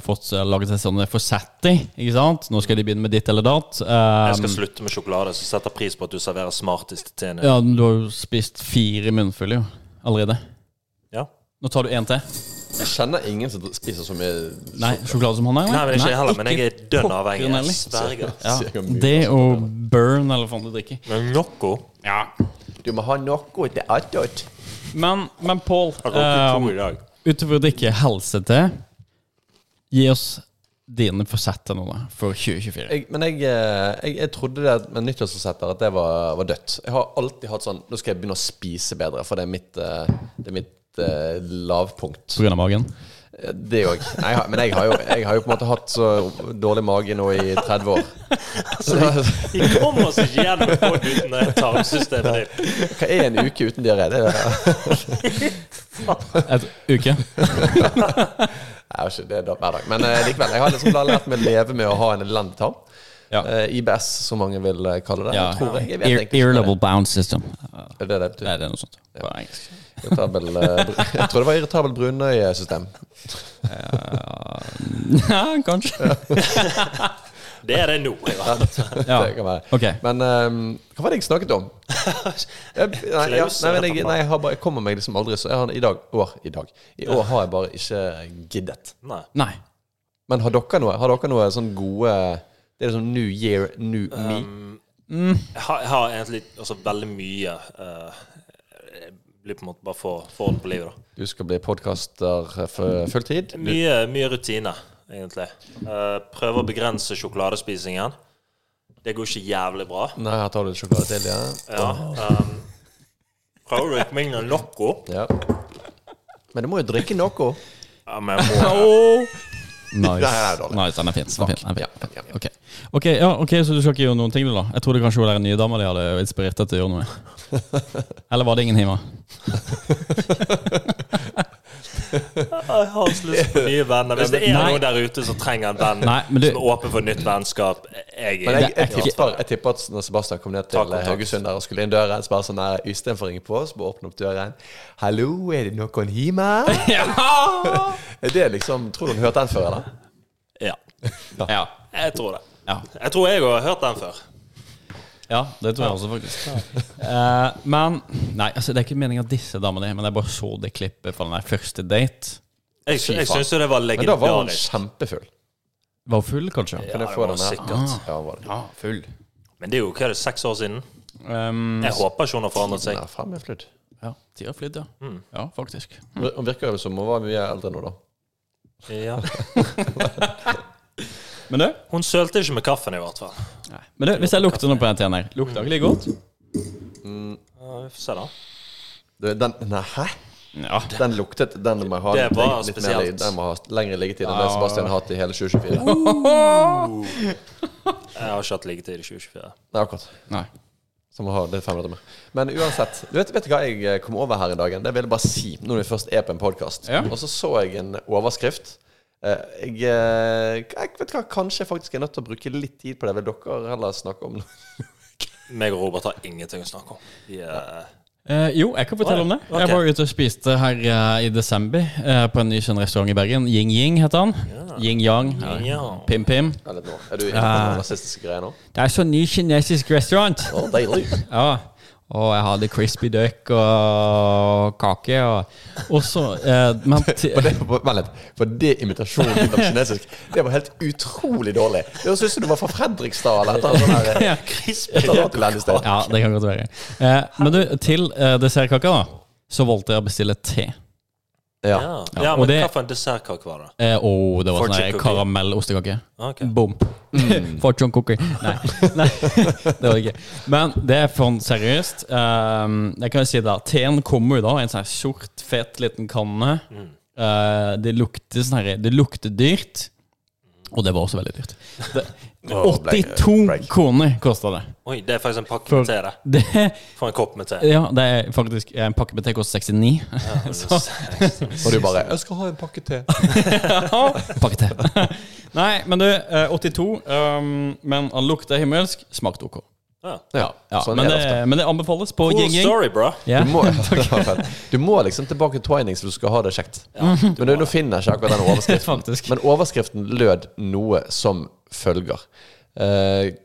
fått eh, laget seg sånne forsetti, ikke sant? Nå skal de begynne med ditt eller datt. Um, Jeg skal slutte med sjokolade, så setter jeg pris på at du serverer Smarties til Tine. ja, men du har jo spist fire munnfulle jo, allerede. Ja. Nå tar du en til. Jeg kjenner ingen som spiser så mye Nei, sjokolade som han er? Nei, men ikke jeg heller, men ikke jeg er dønn pokker avhengig. heller. Jeg sverger. Ja, Så jeg har mye det og burn, eller hva faen du drikker. Men Noco Ja. Du må ha noe til adult. Men, men Pål har rukket um, to i dag. Utover å drikke helse til, gi oss dine forsetter nå, da, for 2024. Jeg, men jeg, eh, jeg, jeg trodde det med nyttårsforsetter at det var, var dødt. Jeg har alltid hatt sånn Nå skal jeg begynne å spise bedre, for det er mitt, eh, det er mitt eh, lavpunkt. På grunn av magen. Eh, Det òg. Men jeg har, jo, jeg har jo på en måte hatt så dårlig mage nå i 30 år. Så, hva Vi kommer oss ikke gjennom pod uten det tarmsystemet ditt. er en uke uten diaré? Det er, Et uke. jeg har ikke det da, hver dag. Men eh, likevel. Jeg har liksom lært meg å leve med å ha en elendig tarm. Ja. Eh, IBS, som mange vil eh, kalle det. Ja. Jeg tror jeg, jeg vet Ear, egentlig ikke hva level bound system. det, er det det betyr. Nei, det er noe sånt. På engelsk. Irritabel, eh, br- jeg tror det var irritabel brunøyesystem. Ja, kanskje. Det er det nå. i hvert fall. Ja. Det kan være. Ok. Men eh, hva var det jeg snakket om? Jeg, nei, ja, nei, men jeg, nei, jeg, har bare, jeg kommer meg liksom aldri så jeg har, I dag, år, i dag I år har jeg bare ikke giddet. Nei. Nei. Men har dere noe Har dere noe sånn gode Det er liksom New Year, New Me. Um, Jeg har, jeg har egentlig også veldig mye eh, Jeg blir på en måte bare for, for orden på livet, da. Du skal bli podkaster for fulltid. Du, Mye, mye rutine, egentlig. Eh, prøver å begrense sjokoladespisingen. Det går ikke jævlig bra. nei, her tar du litt sjokolade til, ja. Ja, ehm, prøver å drikke mindre Noco. ja. Men du må jo drikke noe. Ja, men jeg må Nice. er dårlig. nice. Den er fin. Den er fin. Den er fin. Ja, ja. Ok. Ok, ja, ok, så du skal ikke gjøre noen ting, du, da? Jeg trodde kanskje hun der nye dama di hadde inspirert deg til å gjøre noe. Eller var det ingen himmel? Jeg har så lyst på nye venner. Hvis det er Nei. noen der ute som trenger en venn Nei, men du- som er åpen for nytt vennskap jeg, Men jeg, Det er jeg, ikke- tipper, jeg tipper at når Sebastian kom ned til Ta kontakt. Haugesund der og skulle inn døren, så bare sånn der Ystein får ringe på oss, bare åpne opp døren. 'Hallo, er det noen hjemme?' Ja! Er det liksom Tror du hun hørte den før, eller? Ja, ja. jeg tror det. Ja. Jeg tror jeg har hørt den før. Ja, det tror jeg også, faktisk. Eh, men Nei, altså, det er ikke meningen at disse damene Men jeg bare så det klippet fra den der første date. Jeg, Fy jeg faen. syns jo det var Men da var hun legendarisk. kjempefull. Var hun full, kanskje? Ja, Kan jeg det få var den her? sikkert. Ja, hun var det. Ja, full. Men det er jo hva er det, seks år siden. Um, Jeg håper ikke hun har forandret seg. Ja, faen meg flydd. ja, Mm. tida har flydd, ja. Ja, faktisk. Hun virker jo som hun var mye eldre nå, da. Ja. Men du, Hun sølte ikke med kaffen, i hvert fall. men du hvis jeg lukter noe på NTN her Lukter ikke like godt? Ja, vi får se, da. Du, Den, nei, hæ? Ja. Den luktet Den må jeg ha Det litt- var litt spesielt. mer i- Den må ha lengre liggetid enn det Sebastian har hatt i hele 2024. Jeg har ikke hatt liggetid i 2024. Nei, akkurat. Nei. Så må ha det fem minutter mer. Men uansett, du vet, vet du hva jeg eh, kom over her i dagen? Det vil jeg bare si når vi først er på en podkast. Ja. Og så så jeg en overskrift. Eh, Jeg, eh, jeg vet hva, kanskje jeg faktisk er nødt til å bruke litt tid på det. Vil dere heller snakke om det? Meg og Robert har ingenting å snakke om. Vi er- Eh, jo, jeg kan fortelle om det. Ok. Jeg var ute og spiste her eh, i desember eh, på en ny sånn restaurant i Bergen. Ying Ying heter han. Ying Yang. eller Yang. Pim Pim. Eller nå? Er du inne på den rasistiske greia nå? Det er sånn ny kinesisk restaurant. Å, deilig. Ja. Og jeg hadde crispy duck og kake. Og også eh, men til- For det, for, vent litt. For det imitasjonen din av kinesisk, det var helt utrolig dårlig. Det høres ut som du var fra Fredrikstad eller et eller annet sånt. der, Crispy. Et eller annet land i sted. Ja, det kan godt være. Eh, men du, til eh, dessertkaka, da, så valgte jeg å bestille te. Ja. Ja. Ja, ja, og men det- hva for en dessertkake var det? Eh, oh, det var Fortune sånn der cookie. karamellostekake. Ok. Boom. Mm. Fortune cookie. Nei, Nei det var det ikke. Men det er for seriøst. Um, jeg kan jo si da, Teen kommer jo da i en sånn her sort, fet liten kanne. Mm. Eh, det lukter sånn her, det lukter dyrt. Og det var også veldig dyrt. Det, Åh, ble- 82 ble- kroner kosta det. Oi, det er faktisk en pakke For- med te, det. det. For en kopp med te. Ja, det er faktisk eh, En pakke med te koster 69. Så Og du bare 'Jeg skal ha en pakke te'. Pakke te. Nei, men du, eh, 82. Um, men han lukter himmelsk. Smakte ok. Ja. Ja, Ja, sånn men, er det ofte. det, men det anbefales på Cool Ying Ying. story, bro. Ja. Du må, du må liksom tilbake til Twinings hvis du skal ha det kjekt. Men du, nå finner jeg ikke akkurat den overskriften. Faktisk. Men overskriften lød noe som følger. Eh,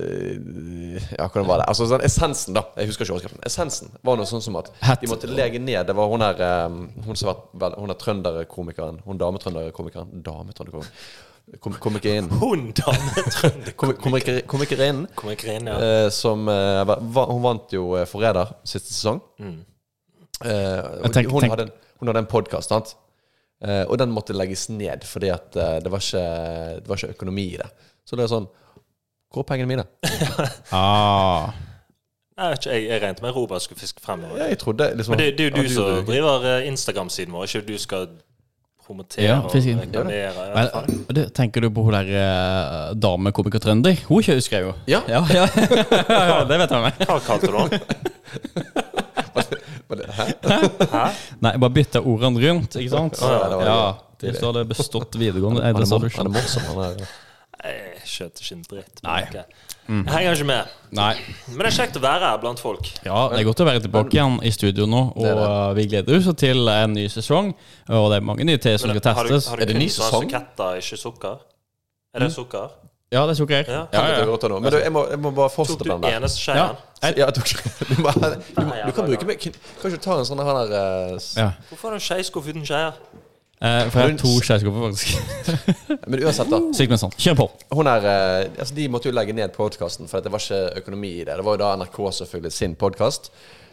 eh, ja, hvordan var det? Altså sånn Essensen, da. Jeg husker ikke overskriften. Essensen var noe sånn som at Hat- de måtte lege ned Det var hun her eh, Hun som var vel, Hun er trønderkomikeren. Hun dametrønderkomikeren. Dametrønderkomikeren. Kom, komikerinnen. Hun dametrønder Komi- komiker- Komikerinnen. kommer ikke inn, ja. Eh, som eh, va- va- Hun vant jo eh, Forræder siste sesong. Mm. Eh, og tenk- hun, tenk- hadde en, hun hadde en podkast, sant? Eh, og den måtte legges ned fordi at eh, det, var ikke, det var ikke økonomi i det. Så det er sånn Hvor er pengene mine? Ah. Jeg vet ikke, jeg, jeg regnet med Robert skulle fiske fremover. Ja, Jeg trodde liksom Men det, det er jo at du som driver eh, Instagram-siden vår, ikke du skal promotere Ja, og fiske inn. reklamere. Ja, Men, faen. du, tenker du på hun der eh, damekomiker trønder? Hun ikke husker jeg jo. Ja. ja, ja. ja det vet jeg meg. Hva kalte du den? Var det- Hæ? Nei, jeg bare bytta ordene rundt, ikke sant? Ja, det var det. Ja, Hvis du hadde bestått videregående Nei, Han det er sa du mor- han er ikke. morsom, han er Jeg skjønte ikke en dritt. Nei. Mm. Ok. Jeg henger ikke med. Nei. Men det er kjekt å være her blant folk. Ja, det er godt å være tilbake igjen i studio nå, og Det er det. eh, vi gleder oss til en ny sesong. Og det er mange nye teer som skal har du, testes. har Er du det kun ny sånn sesong? Mm. suketter, ikke sukker? Er det sukker? Ja, det er sukker. Ja. Ja, Det ja, går ja. godt å nå. Men du, jeg må, jeg må bare Tok fortsette du den der. eneste ja. skjeen? Så- Ja, du, du, må- du, må- du kan bruke meg Kan ikke du ta en sånn her eh, s- ja. Hvorfor har du en skeiskuffe uten skeier? Eh, for jeg har to skjærskuffer, faktisk. Men uansett, da. Slik, men sånn. Kjør på. hun er, eh, altså De måtte jo legge ned podkasten, for det var ikke økonomi i det. Det var jo da NRK selvfølgelig sin podkast.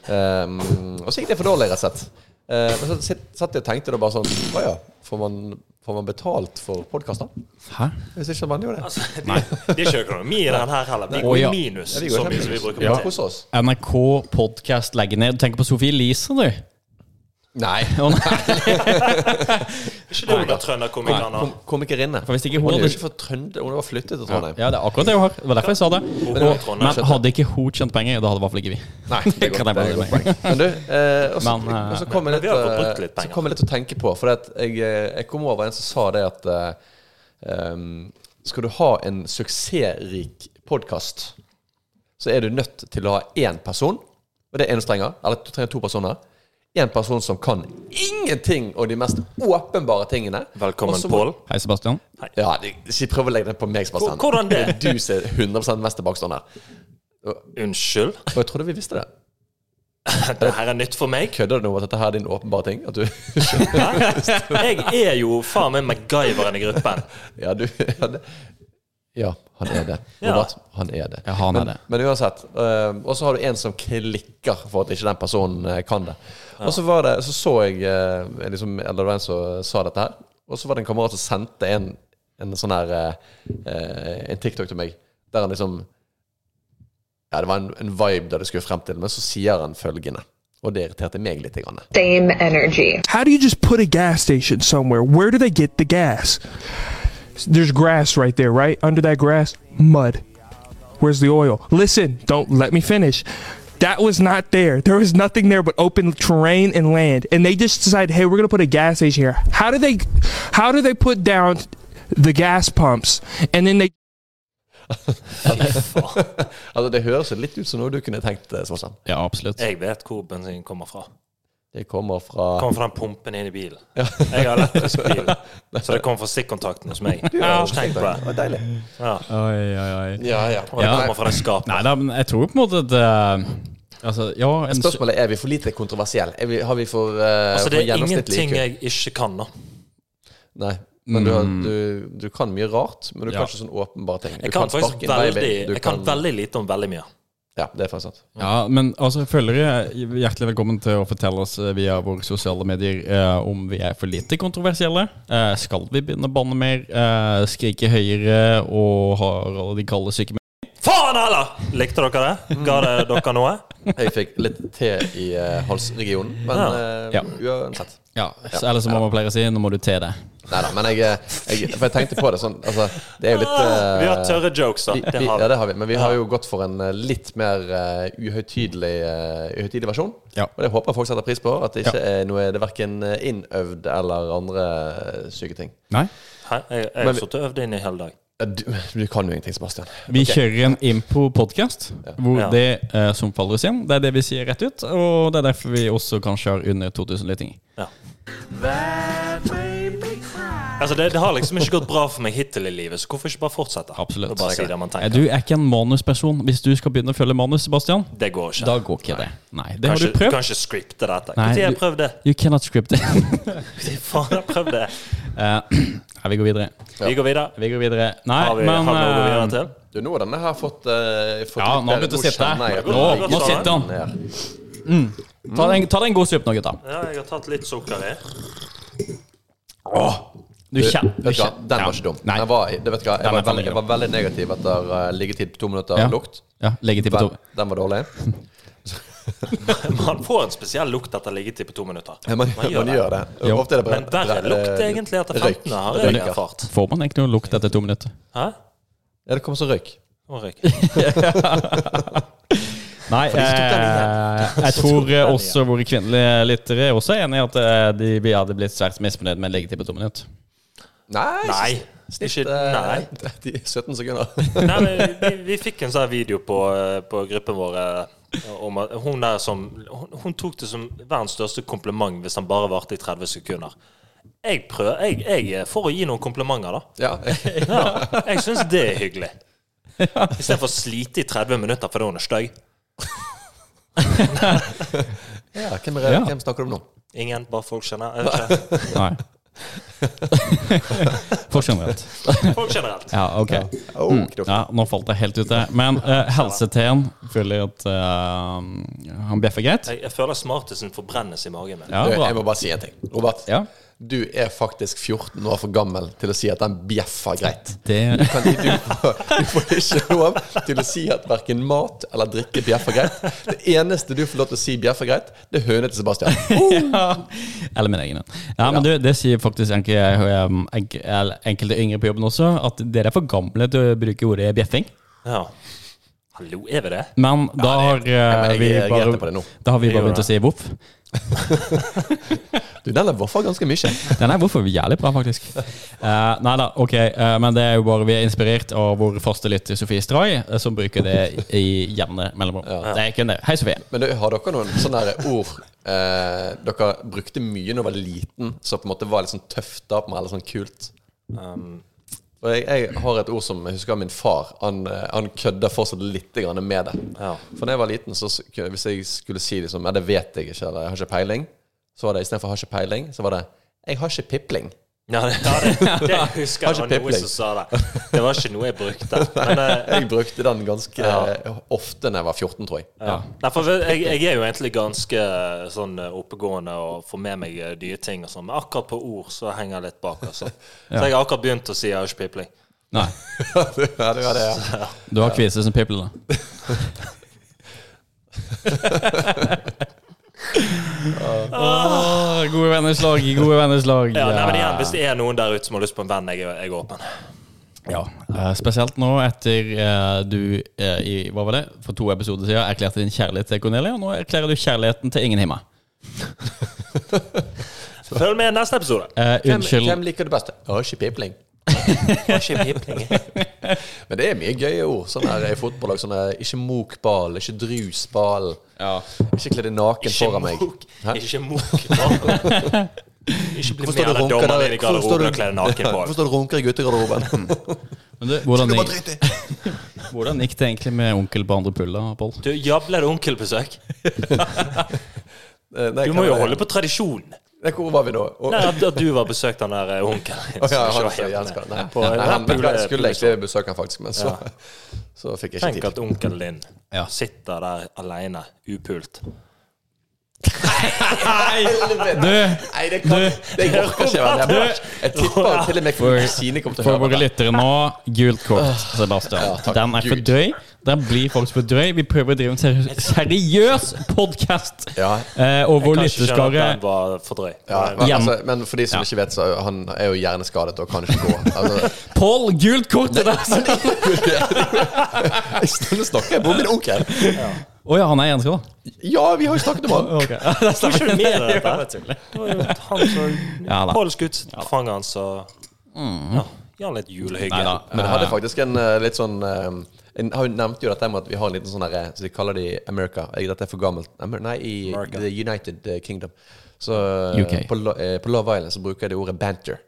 og så gikk det for dårlig, rett og slett. Eh, men så sitt- satt jeg og tenkte da bare sånn Å ja, får man, får man betalt for podkaster? Hæ? Hvis ikke man gjør det. Altså, det, det er ikke økonomi i den her heller. Vi Å, går i ja. minus Ja, vi går så mye som vi kjempegodt. bruker Ja. på Hos oss. NRK podcast legger ned. Du tenker på Sofie Elise, du. Nei. Å, nei. Ikke det hun var trønderkomikeren Kom, da. komikerinne. For hvis ikke Hun hun er jo hadde ikke fra Trønde, hun var flyttet til Trondheim. Ja, det er akkurat det hun har. Det var derfor jeg sa det. Hun var i Men Trondheim. hadde ikke hun tjent penger, da hadde i hvert fall ikke vi. Nei, det Kan er godt, jeg det bare er si godt meg? poeng. Men du, eh, også, Men, eh, også kom jeg men litt, vi har fått brukt eh, litt penger. Så kom jeg litt til å tenke på, for at jeg, eh, jeg kom over en som sa det at eh, em, skal du ha en suksessrik podkast, så er du nødt til å ha én person, og det er en du trenger, eller du trenger to personer. Én person som kan ingenting om de mest åpenbare tingene. Velkommen, Og så må- Pål. Hei, Sebastian. Ja, de- ikke prøv å legge det på meg, Sebastian. Hvordan det? Du som er 100 mest tilbakestående. Unnskyld. Og jeg trodde vi visste det. Dette her er nytt for meg. Kødder du nå at dette her er din åpenbare ting? At du Jeg er jo faen meg MacGyveren i gruppen. Ja, du ja, det, ja, han er det. Ja. Robert, han er det. Ja, han er men, det. men uansett. eh, og så har du en som klikker for at ikke den personen eh, kan det. Og så var det, så, så jeg eh, liksom, Eller det var en som sa dette her. Og så var det en kamerat som sendte en, en sånn her eh, eh, En TikTok til meg, der han liksom Ja, det var en, en vibe der det skulle frem til, men så sier han følgende. Og det irriterte meg litt. Grann. same energy. How do you just put a gas station somewhere? Where do they get the gas? There's grass right there, right? Under that grass, mud. Where's the oil? Listen, don't let me finish. That was not there. There was nothing there but open terrain and land. And they just decided, hey, we're gonna put a gas station here. How do they how do they put down the gas pumps and then they Altså, det høres jo litt ut som noe du kunne tenkt, eh, Svartstrand. Ja, absolutt. Jeg vet hvor bensinen kommer fra. Det kommer fra Kommer fra den pumpen inn i bilen. Jeg har elektrisk bil, så det kommer fra stikkontakten hos meg. Jeg har ikke tenkt på det. var deilig. Ja. Oi, oi, oi. Ja, ja. Og det kommer fra det skapet. Nei da, men jeg tror på en måte at eh, Altså, ja en, su- Spørsmålet er er vi for lite kontroversielle. Er vi, har vi for, eh, Altså, det for er gjennomsnittlig ingenting IQ? jeg ikke kan, da. Nei. Men du, har- du, du kan mye rart, men du Ja. kan ikke sånn åpenbare ting. Du Jeg kan faktisk sparke en baby, veldig, du jeg kan veldig lite om veldig mye. Ja, det er faktisk sant. Ja, men altså, følgere, hjertelig velkommen til å fortelle oss eh, via våre sosiale medier eh, om vi er for lite kontroversielle. Eh, skal vi begynne å banne mer, eh, skrike høyere og har alle de kalde syke Faen heller! Likte dere det? Ga det dere noe? Jeg fikk litt te i eh, halsregionen, men eh, Ja. uansett. Ja, så ellers så må man pleier å si nå må du te deg. Nei da, men jeg, eh, jeg For jeg tenkte på det sånn Altså, det er jo litt eh, Ah, Vi har tørre jokes, da. vi, Det vi, har ja, vi. det har vi. Men vi har jo gått for en eh, litt mer eh, uhøytidelig eh, uhøytidelig versjon. Ja. Og det håper jeg folk setter pris på. At det ikke Ja. er noe Det er verken innøvd eller andre eh, syke ting. Nei. Hæ? Jeg jeg har sittet og øvd inn i hele dag. Ja, Du, du kan jo ingenting, Sebastian. Vi kjører en impro-podkast hvor Ja. det eh, som faller oss inn, det er det vi sier rett ut. Og det er derfor vi også kanskje har under 2000 lyttinger. Ja. Altså, det, det har liksom ikke gått bra for meg hittil i livet, så hvorfor ikke bare fortsette? Absolutt. Og bare si det man Eh, tenker. Du er ikke en manusperson. Hvis du skal begynne å følge manus, Sebastian, Det går ikke. da går ikke det. Nei, det Kanskje, har du prøvd. kanskje skripte dette. Nei, Når har jeg du- prøvd det? You cannot script it. Faen, jeg har prøvd det. Eh, ja, vi går videre. Vi går videre. Vi går videre. Nei, Har vi men har vi noe å gå videre eh, til? Du, nå har denne her fått, eh, fått Ja, litt nå har bedre- begynt å sitte. kjenner jeg Nå- at den nå ligger sitter han. ned. ta deg en- ta deg en god sup nå, gutta. Ja, jeg har tatt litt sukker i. Du kjenner Vet du hva, Den var ikke dum. Nei. Jeg var, det vet du Den hva, jeg er var, veldig, veldig jeg var veldig negativ etter eh, liggetid på to minutter Ja. lukt. Ja, legge til på to. Den, den var dårlig. Man får en spesiell lukt etter liggetid på to minutter. Ja, man, man gjør det. Jo. Ofte er det eh, Men verre lukt egentlig etter 15 har jeg Røyk. ja. erfart. Får man egentlig noe lukt etter to minutter? Hæ? Ja, det kommer så røyk. Å, røyk. Nei, eh, jeg tror eh, også våre kvinnelige lyttere er også enig i at eh, de, vi hadde blitt svært misfornøyd med en leggetid på to minutter. Nei! Nei. Snitt, Ikke, eh, nei. 17 sekunder. nei men vi, vi fikk en sånn video på, eh, på gruppen vår eh, om at hun der som hun, hun tok det som verdens største kompliment hvis han bare varte i 30 sekunder. Jeg prøver jeg, jeg, eh, For å gi noen komplimenter, da. ja. Ja, jeg syns det er hyggelig. Istedenfor å slite i 30 minutter fordi hun er stygg. ja, hvem, er, Ja. hvem snakker du om nå? Ingen, bare folk kjenner. Jeg vet ikke. Nei. For generelt. Folk generelt. Ja, ok. Oh, knok. Ja, nå falt jeg helt ute. Men eh, helseteen føler jeg at eh, han bjeffer greit. Jeg, jeg føler smartisen forbrennes i magen min. Ja, Du, bra. jeg må bare si en ting. Robert, Ja. Du er faktisk 14 år for gammel til å si at den bjeffer greit. Det, Kan du, får, du får ikke lov til å si at verken mat eller drikke bjeffer greit. Det eneste du får lov til å si bjeffer greit, det er høne til Sebastian. ja. Eller min egen. Ja, men du, det sier faktisk enke- um, enke- eller enkelte yngre på jobben også, at dere er for gamle til å bruke ordet bjeffing. Ja. Hallo, er vi det? Men da har men eh, jeg vi reagerte på det bare, nå. da har vi Jeg bare gjorde begynt å si voff. Du, den er voffa ganske mye. Den er hvorfor jævlig bra, faktisk. Uh, nei da, ok, eh, men det er jo bare vi er inspirert av vår faste lytter Sofie Stray, eh, som bruker det i jevne mellomrom. Det er kun det. Hei, Sofie. Men du, har dere noen sånne her ord eh, dere brukte mye da dere var liten, som på en måte var litt sånn tøft da, på meg, eller sånn kult? For jeg, jeg har et ord som jeg husker min far. Han, eh, han kødder fortsatt litt grann med det. Ja. For da jeg var liten, så sk- hvis jeg skulle si liksom, ja, det vet jeg ikke, eller jeg har ikke peiling, så var det istedenfor 'har ikke peiling', så var det 'jeg har ikke pipling'. Ja, det, ja, det, det husker jeg Har ikke det var noen pipling. som sa det. Det var ikke noe jeg brukte. Men, eh, Jeg brukte den ganske Ja. eh, ofte da jeg var 14, tror jeg. ja. Nei, for jeg, jeg er jo egentlig ganske eh, sånn eh, oppegående og får med meg eh, nye ting og sånn, men akkurat på ord så henger jeg litt bak, altså. Så jeg har akkurat begynt å si 'jeg har ikke pipling'. Nei, ja, det var det, ja. du har kvise som people, da. Åh, Ah, gode venners lag, gode venners lag. Ja, nei, men igjen, hvis det er noen der ute som har lyst på en venn, jeg, er- jeg er åpen. Ja, eh, spesielt nå etter eh, du eh, i, hva var det, for to episoder siden erklærte din kjærlighet til Cornelia, og nå erklærer du kjærligheten til ingen himmel. Følg med i neste episode. Eh, Hvem, unnskyld. hvem liker du best? 'Jeg har ikke pipling'. Jeg har ikke pipling. Men det er mye gøye ord sånn her i fotballag. Sånn her, ikke mokball, ikke drusball. Ja. Ikke kle deg naken foran meg. mok. Hæ? Ikke mok. Ikke bli Hvorfor står med du alle runker dommerne der- inn i hvorfor står garderoben du- og kle deg naken på. Hvorfor står du og runker i guttegarderoben? Men du, hvordan, Du bare gikk, drit i. hvordan gikk det egentlig med onkel på andre pulla, Pål? Du, jævla er det onkelbesøk. Eh, nei, Du må hva var jo det? holde på tradisjonen. Nei, Hvor var vi nå? Å, Nei, at, at du var besøkt den der eh, onkelen din. å, ja, som han, ikke var jeg helt elsker med. det. Nei, På- nei, han, på- jeg skulle egentlig besøke han faktisk, men så, så fikk jeg ikke Tenk tid. at onkelen din Ja. sitter der aleine, upult. Du, Nei, det kan Det orker ikke være med. Jeg tipper til og med kusine kommer til å for høre våre på det. lyttere nå, gult kort, Sebastian. takk Den er for Gud. drøy. Den blir faktisk for drøy. Vi prøver å drive en seri seriøs podkast, Ja. eh, og vår Kan ikke skjønne at lytterskare den var for drøy. Ja, Nei, Hjem. altså, men for de som ikke vet, så han er jo hjerneskadet og kan ikke gå. Altså, Pål, gult kort til deg! jeg stille snakker jeg om min onkel. Å ja, han er jernskada? Ja, vi har jo snakket om han. Okay. Det Jeg tror ikke du mener Ja, dette. det er tull. Det var jo han som Ja, da. Pål skutt fanget hans og Mhm. ja, Gi han litt julehygge. Neida. Men jeg hadde faktisk en eh, litt sånn eh, en, Han nevnte jo dette med at vi har en liten sånn her, eh, Så de kaller det i America. Jeg, dette er for gammelt. Amer- Nei, i America. The United eh, Kingdom. Så eh, UK. På, Lo- eh, på Love Island så bruker jeg det ordet banter.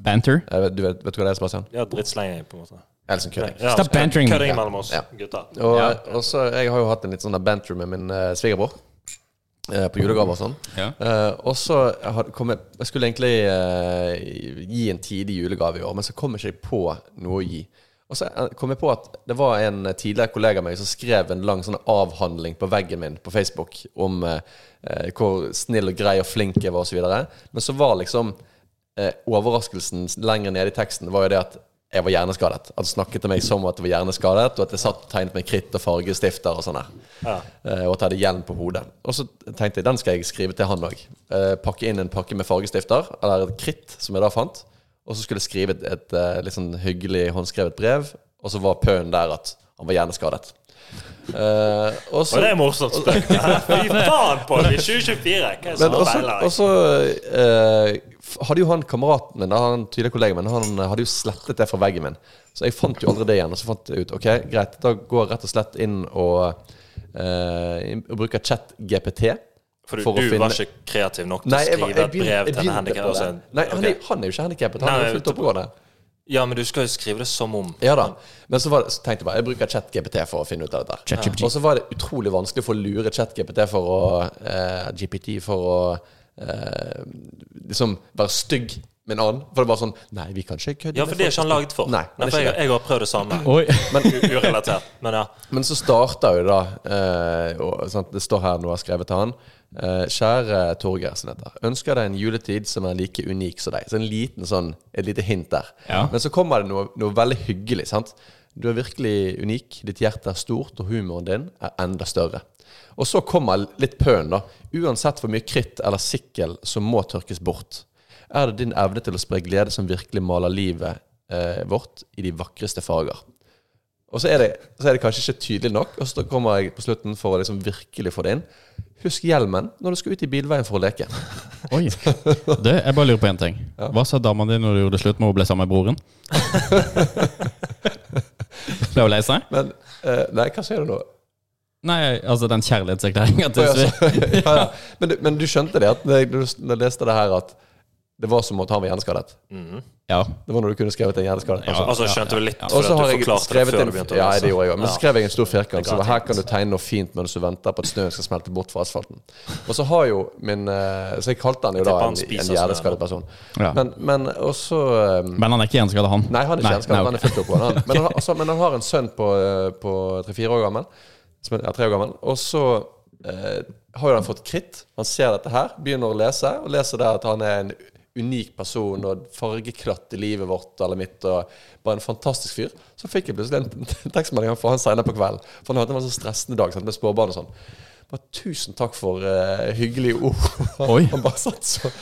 Banter. Eh, vet- Du vet, vet du hva det er, Sebastian? Ja, drittslenger, på en måte. Eller sånn kødding. Ja, Stop bantering. Kødding mellom oss Ja. gutter. Og, og så, jeg har jo hatt en litt sånn der banter med min eh, svigerbror. eh, På julegave og sånn. Ja. Eh, og så had- kom jeg Jeg skulle egentlig eh, gi en tidlig julegave i år, men så kom jeg ikke på noe å gi. Og så eh, kom jeg på at det var en tidligere kollega av meg som skrev en lang sånn avhandling på veggen min på Facebook om eh, eh, hvor snill og grei og flink jeg var osv. Men så var liksom eh, overraskelsen lenger nede i teksten var jo det at jeg var hjerneskadet. At du snakket til meg som at jeg var hjerneskadet, og at jeg satt og tegnet med kritt og fargestifter og sånn der. Eh, og at jeg hadde hjelm på hodet. Og så tenkte jeg den skal jeg skrive til han òg. Eh, pakke inn en pakke med fargestifter, eller et kritt, som jeg da fant. Og så skulle jeg skrive et, et eh, litt sånn hyggelig håndskrevet brev, og så var pønnen der at han var hjerneskadet. Eh, og så- Og det er morsomt spøk. Fy faen, Pål! I 2024! Hva er det Men som også, feiler deg? også eh, f- hadde jo han kameraten min, da, han tidligere kollegaen min, han hadde jo slettet det fra veggen min. Så jeg fant jo aldri det igjen. Og så fant jeg ut ok, greit, da går jeg rett og slett inn og, eh, inn- og bruker chat-GPT. For du, du var ikke kreativ nok til Nei, jeg, å var- skrive jeg et begynte, brev jeg til en begynte handikap? på det. Altså, Nei, han, ok. er- han er jo ikke handikappet. Han Nei, er jo fullt jeg- oppegående. Ja, men du skal jo skrive det som om. Ja da. Men så, var det, så tenkte jeg bare jeg bruker ChatGPT for å finne ut av dette. her. ChatGPT. Og så var det utrolig vanskelig for å lure ChatGPT for å eh, GPT for å eh, liksom være stygg med en annen. For det er bare sånn Nei, vi kan ikke kødde Ja, med for det er ikke han folk. laget for. Nei, for han er ikke Mm. jeg, det. jeg har prøvd det samme. Oi. Men u- urelatert. Men ja. Men så starter jo da eh, og, sant, Det står her noe jeg har skrevet til han. Eh, kjære Torgeir, som det heter. Ønsker deg en juletid som er like unik som deg. Så en liten sånn, Et lite hint der. Ja. Men så kommer det noe, noe veldig hyggelig. sant? Du er virkelig unik. Ditt hjerte er stort, og humoren din er enda større. Og så kommer litt pøn, da. Uansett hvor mye kritt eller sikkel som må tørkes bort, er det din evne til å spre glede som virkelig maler livet eh, vårt i de vakreste farger. Og så er, det, så er det kanskje ikke tydelig nok, og så kommer jeg på slutten for å liksom virkelig få det inn. Husk hjelmen når du skal ut i bilveien for å leke. Oi. Du, jeg bare lurer på én ting. Hva sa dama di når du gjorde det slutt med hun ble sammen med broren? Ble hun lei seg? Men eh, Nei, hva sier du nå? Nei, altså den kjærlighetserklæringa til Svi. ja, ja. Men, du, men du skjønte det, at når jeg- når jeg leste det her, at det var som at han var hjerneskadet? Ja. Det var når du kunne skrevet en hjerneskadet person? Altså, skjønte du litt Og fordi så at har du jeg forklarte det skrevet før en, du begynte å ja, lese? det gjorde jeg, også. men så skrev jeg en stor firkant. Det Så ga her tegn. kan du tegne noe fint mens du venter på at snøen skal smelte bort fra asfalten. Og så har jo min eh, Så jeg kalte han jo da Tipper han en, spiser en snø hjerneskadet person. Ja. Men, men også eh, Men han er ikke hjerneskada, han? Nei, han er ikke hjerneskadet. nei, Han er ok. fullt oppgående. Han. Men, han, altså, men han har en sønn på, eh, på tre-fire år gammel. Som er ja, tre år gammel. Og så eh, har jo han fått kritt. Han ser dette her, begynner å lese, og leser det at han er en unik person og fargeklatt i livet vårt eller mitt, og bare en fantastisk fyr. Så fikk jeg plutselig en tekstmelding fra han senere på kvelden. For han hadde en så stressende dag sant, med småbarn og sånn. Bare, tusen takk for eh, hyggelige ord. Oi. Han bare satte så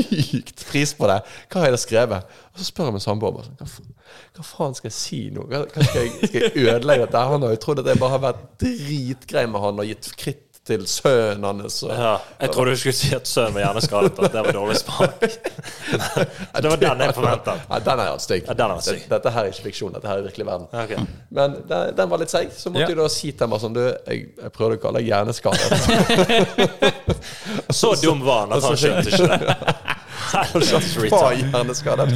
sykt pris på det. Hva har jeg da skrevet? Og så spør jeg min samboer bare sånn, hva, fa- hva faen skal jeg si nå? Hva, hva skal, jeg, skal jeg ødelegge dette? her? Han har jo trodd at jeg bare har vært dritgrei med han og gitt kritt til sønnen hans. Og, Ja, jeg trodde du skulle si at sønnen var hjerneskadet. At det var dårlig spansk. Det var den jeg forventet. Nei, den er han stygg. Ja, den er stygg. Dette, dette her er ikke fiksjon, dette her er virkelig verden. Ok. Men den, den var litt seig, så måtte Ja. jeg da si til ham bare sånn Du, jeg, jeg prøvde å kalle deg hjerneskadet. Så dum var han at han skjønte ikke det. Helvetes Var retard. hjerneskadet.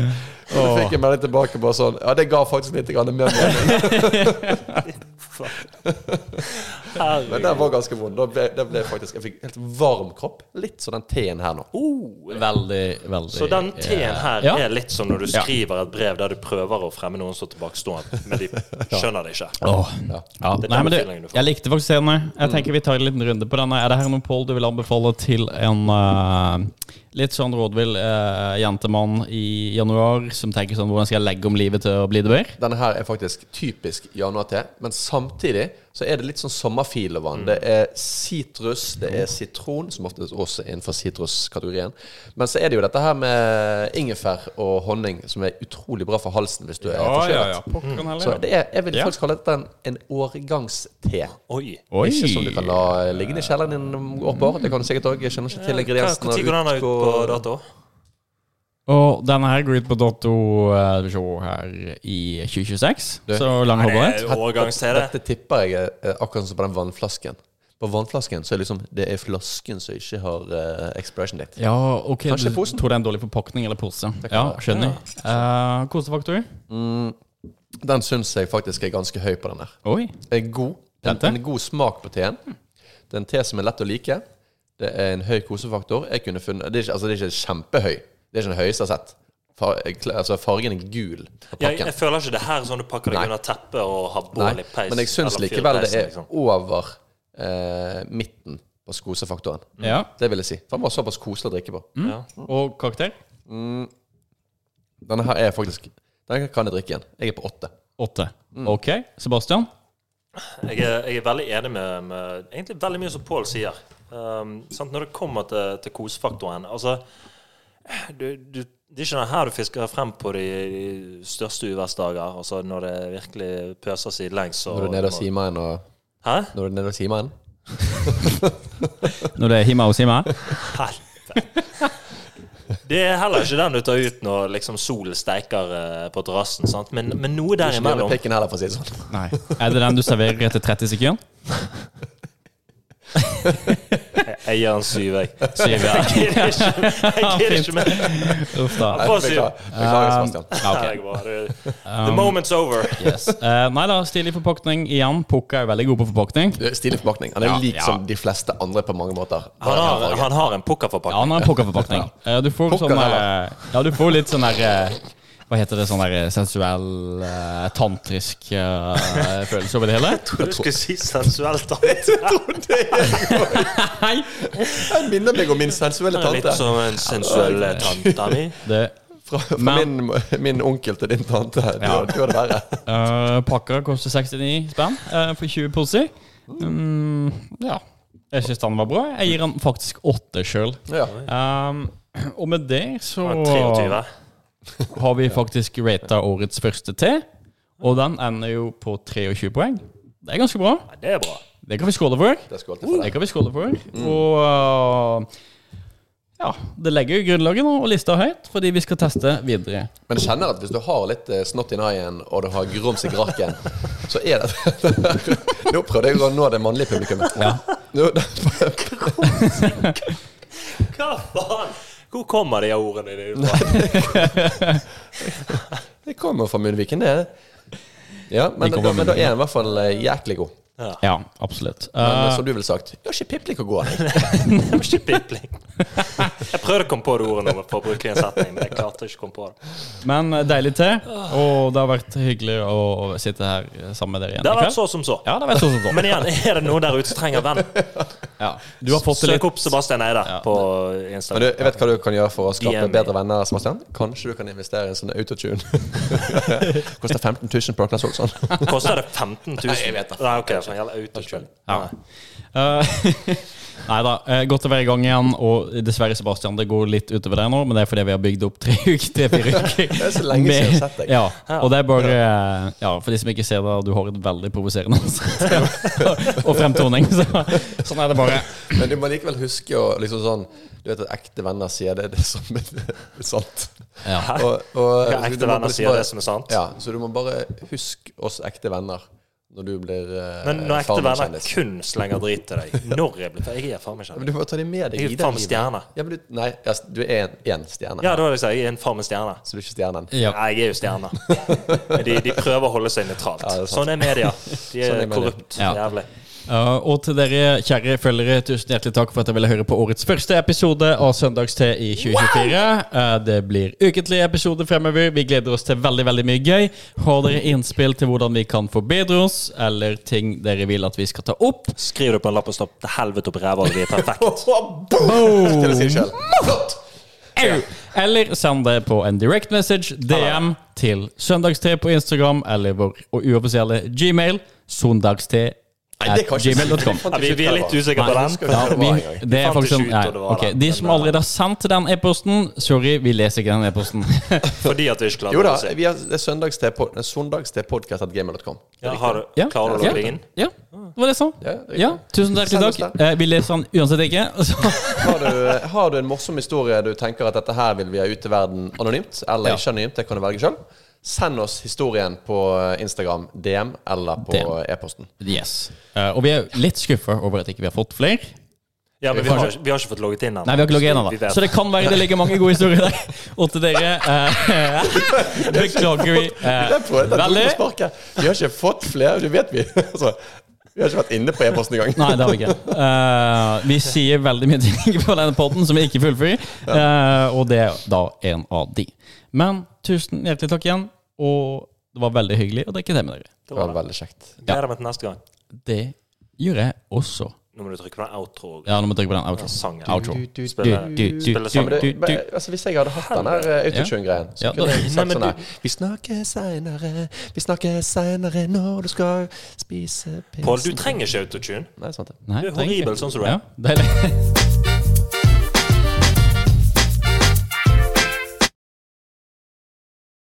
Og så fikk jeg melding tilbake på sånn Ja, det ga faktisk litt grann mer mening. Men den Herregud. var ganske vond. Da ble, da ble jeg faktisk Jeg fikk helt varm kropp. Litt som den teen her nå. Oh, Veldig, veldig Så den T-en her Ja. er litt som når du Ja. skriver et brev der du prøver å fremme noen som er tilbakestående, men de skjønner det ikke. Åh. Ja. Det er Nei, den men du, feelingen du får. jeg likte faktisk scenen. Jeg Mm. tenker vi tar en liten runde på denne. Er det her noe Pål du vil anbefale til en eh, litt sånn rådvill eh, jentemann i januar som tenker sånn Hvordan skal jeg legge om livet til å bli det bedre? Denne her er faktisk typisk januar te, men samtidig så er det litt sånn sommerfil over den. Det er sitrus, det er sitron, som ofte også er innenfor sitruskategorien. Men så er det jo dette her med ingefær og honning, som er utrolig bra for halsen hvis du er forkjølet. Pokker heller, Så det er, jeg vil Ja. faktisk kalle dette en, en årgangste. Oi. Oi. Ikke som du kan la liggende i kjelleren din om år. Det kan du sikkert òg. Jeg kjenner ikke til ingrediensene. Når går den ut på dato? Og denne her går ut på dato eh, Skal vi se her i 2026. Så lang holdbarhet. Årgangstid. Dette tipper jeg er er akkurat som på den vannflasken. På vannflasken så er det liksom Det er flasken som ikke har eh, expiration date. Ja, ok, du Kanskje posen? tror det er en dårlig forpakning eller pose. kan Ja, være. skjønner. Eh, kosefaktor? Den syns jeg faktisk er ganske høy på den her. Oi. Det er god. En, Dette? en god smak på teen. Hmm. Det er en te som er lett å like. Det er en høy kosefaktor. Jeg kunne funnet Det er ikke, altså, det er ikke kjempehøy. Det er ikke den høyeste jeg har sett. Far, altså, fargen er gul på Jeg, jeg pakken. føler ikke det her er sånn du pakker Nei. deg under teppet og har bål i Nei, peis. men jeg syns eller likevel det fyrpeisen, er liksom. over eh, midten på kosefaktoren. Mm. Ja. Det vil jeg si. For den var såpass koselig å drikke på. Mm. Og karakter? Denne her er faktisk Den kan jeg drikke igjen. Jeg er på åtte. Åtte. Mm. Ok. Sebastian? Jeg er, jeg er veldig enig med, med egentlig veldig mye som Pål sier. Um, sant? Når det kommer til, til kosefaktoren altså, du, du, Det er ikke den her du fisker frem på de, de største uværsdager, altså når det virkelig pøser sidelengs. og- Når du er nede og simer en, og Hæ? Når du er nede og simer en. Når det er Hima og Sima? Helvete. Det er heller ikke den du tar ut når liksom solen steiker eh, på terrassen, sant? men, men noe der Ikke med imellom pikken heller, for å si det sånn. Nei. Er det den du serverer etter 30 sekunder? Jeg, Jeg gir han syv, jeg. Syv, ja. Jeg gidder ikke, jeg gidder ikke mer. Uff da. Han får syv. Beklager, beklager Sebastian. Um, Ja, Nei, ok. jeg bare- The moment's over. Yes. Eh, nei da, stilig forpaktning igjen. Pukka er veldig god på forpaktning. Du, Stilig forpakning. Han er Ja, lik ja. som de fleste andre på mange måter. Han har, han har en Ja, pukkerforpakning. han har en pukka-forpakning. Eh, du får Pukker, sånn der, Ja, du får litt sånn der eh, Hva heter det? Sånn der eh, sensuell, eh, tantrisk eh, følelse over det hele? Du skulle si sensuelt, da. Nei! Han minner meg om min sensuelle Litt sånn- tante. som en sensuell eh, tanta mi. Det Fra, fra Men- min, min onkel til din tante. Du, du er det verre. eh, Pakka koster 69 spenn eh, for 20 poser. Mm, ja. Jeg syns den var bra. Jeg gir han faktisk åtte sjøl. Ja. Um, og med det så Han er 23. har vi faktisk rata årets første te, og den ender jo på 23 poeng. Det er ganske bra. Nei, Det er bra. Det kan vi skåle for. Det skal alltid for Det deg. kan vi skåle for. Og uh, ja, det legger jo grunnlaget nå, og lista er høyt, fordi vi skal teste videre. Men jeg kjenner at hvis du har litt eh, snott i naien, og du har grums i graken, så er det Nå prøvde jeg å nå det mannlige publikummet. Nå, Hva faen? Hvor kommer de ordene dine fra? det kommer fra Munnviken, det. Ja, men, De kommer da, fra men da er han i hvert fall eh, jæklig god. Ja, absolutt. Men eh, Uh, som du ville sagt, du har ikke piplik å gå av. Det var ikke pipling. Jeg prøvde å komme på det ordet nå, for å bruke en setning, men jeg klarte ikke å komme på det. men eh, deilig te, og det har vært hyggelig å sitte her eh, sammen med dere igjen Det har i vært kveld. så som så. Ja, det har vært sånn som Men igjen, er det noen der ute som trenger venn? Ja. Du har fått det Søk litt opp Sebastian Eide på Men du, Instagram. jeg vet hva du kan gjøre for å skape DM. bedre venner, Sebastian. Kanskje du kan investere i en sånn autotune. Koster 15 000 på sånn. Aklas Olsson. Koster det 15 000? Nei, jeg vet det. Nei, ok, for en jævla autokjøl. Ja. Nei da. Godt å være i gang igjen. Og dessverre, Sebastian, det går litt utover deg nå, men det er fordi vi har bygd opp tre uker, tre-fire uker. Det er så lenge siden jeg har sett deg. Ja, og det er bare eh, Ja, for de som ikke ser det, du har et veldig provoserende ansikt og- og fremtoning. Så, sånn er det bare. Men du må likevel huske å liksom sånn Du vet at ekte venner sier det, det er som det er sant. Ja. Og, og, Ja, ekte du må venner liksom sier bare- det som er sant. Ja, så du må bare huske oss ekte venner når du blir eh, Men når ekte faren min venner kjendis. kun slenger drit til deg Når jeg blir Jeg er faen meg Men kjendis. Du må ta dem med deg Jeg er videre faen i meg livet. stjerne. Ja, men du, nei, ja, du er en, en stjerne, Ja, da vil jeg si jeg er en faen meg stjerne. så du er ikke stjernen. Ja. Nei, jeg er jo stjerne. De, de prøver å holde seg nøytralt. Ja, det er sant. sånn er media. De er, Sånn er media. korrupt. Ja. Jævlig. Eh, og til dere kjære følgere, tusen hjertelig takk for at dere ville høre på årets første episode av Søndagste i 2024. Eh, det blir ukentlige episoder fremover. Vi gleder oss til veldig veldig mye gøy. Har dere innspill til hvordan vi kan forbedre oss, eller ting dere vil at vi skal ta opp? Skriv det på en lapp og stopp til helvete opp i ræva, vi er perfekt. Boom! Til å si det selv. Flott! Au! Eller send det på en direct message, DM, til Søndagste på Instagram eller vår uoffisielle Gmail, søndagste Nei, at det kan jeg ikke si. gmail.com. Jeg Ja, fant vi, vi ikke ut er hva litt det var. usikre på Nei, den. skal vi Ja, ikke vi, ta det var engang. det er Fant faktisk ikke sånn ut nei, når det var ok, den, De men som det- allerede har sendt den e-posten, sorry, vi leser ikke den e-posten. Fordi at vi ikke klarer Jo da, å si. vi har, det er søndagstepodkast.gamer.com. Ja, har, du- Ja. Klarer du å Ja. logge inn? Ja, det var det jeg sa. Ja, det er Ja, tusen hjertelig Send oss takk. Eh, Vi leser den uansett ikke. Så. Har du, eh, har du en morsom historie du tenker at dette her vil vi ha ut til verden anonymt, eller Ja. ikke anonymt, det kan du velge sjøl, send oss historien på eh, Instagram, DM eller på DM. e-posten. Yes. Eh, Og vi er litt skuffa over at ikke vi har fått flere. Ja, men vi har, vi har ikke fått logget inn ennå. Nei, vi har ikke logget inn Vi ennå. vet. Så det kan være det ligger mange gode historier der. Og til dere eh, beklager vi eh, Det er på, det er veldig. på sparket. Vi har ikke fått flere, det vet vi. Altså, vi har ikke vært inne på e-posten engang. Nei, det har vi ikke. Eh, vi sier veldig mye ting på denne podden som vi ikke fullfører, eh, og det er da en av de. Men tusen hjertelig takk igjen, og det var veldig hyggelig å drikke det med dere. Det Det var var det. veldig kjekt. Gleder meg til neste gang. Det gjør jeg også. Nå må du trykke på den outro. Ja, nå må jeg trykke på den outro. Sangen. outro. Spille- Du, du, spille du, sammen. Men du, det, men, du. altså, hvis jeg hadde hatt den der eh, autotune-greien, så Ja, da- kunne jeg Nei, sagt men sånn her Vi snakkes seinere, vi snakkes seinere når du skal spise pils Pål, du trenger ikke autotune. Nei, sant det. Nei, Du er trenger ikke. horribel sånn som du er. Ja, deilig.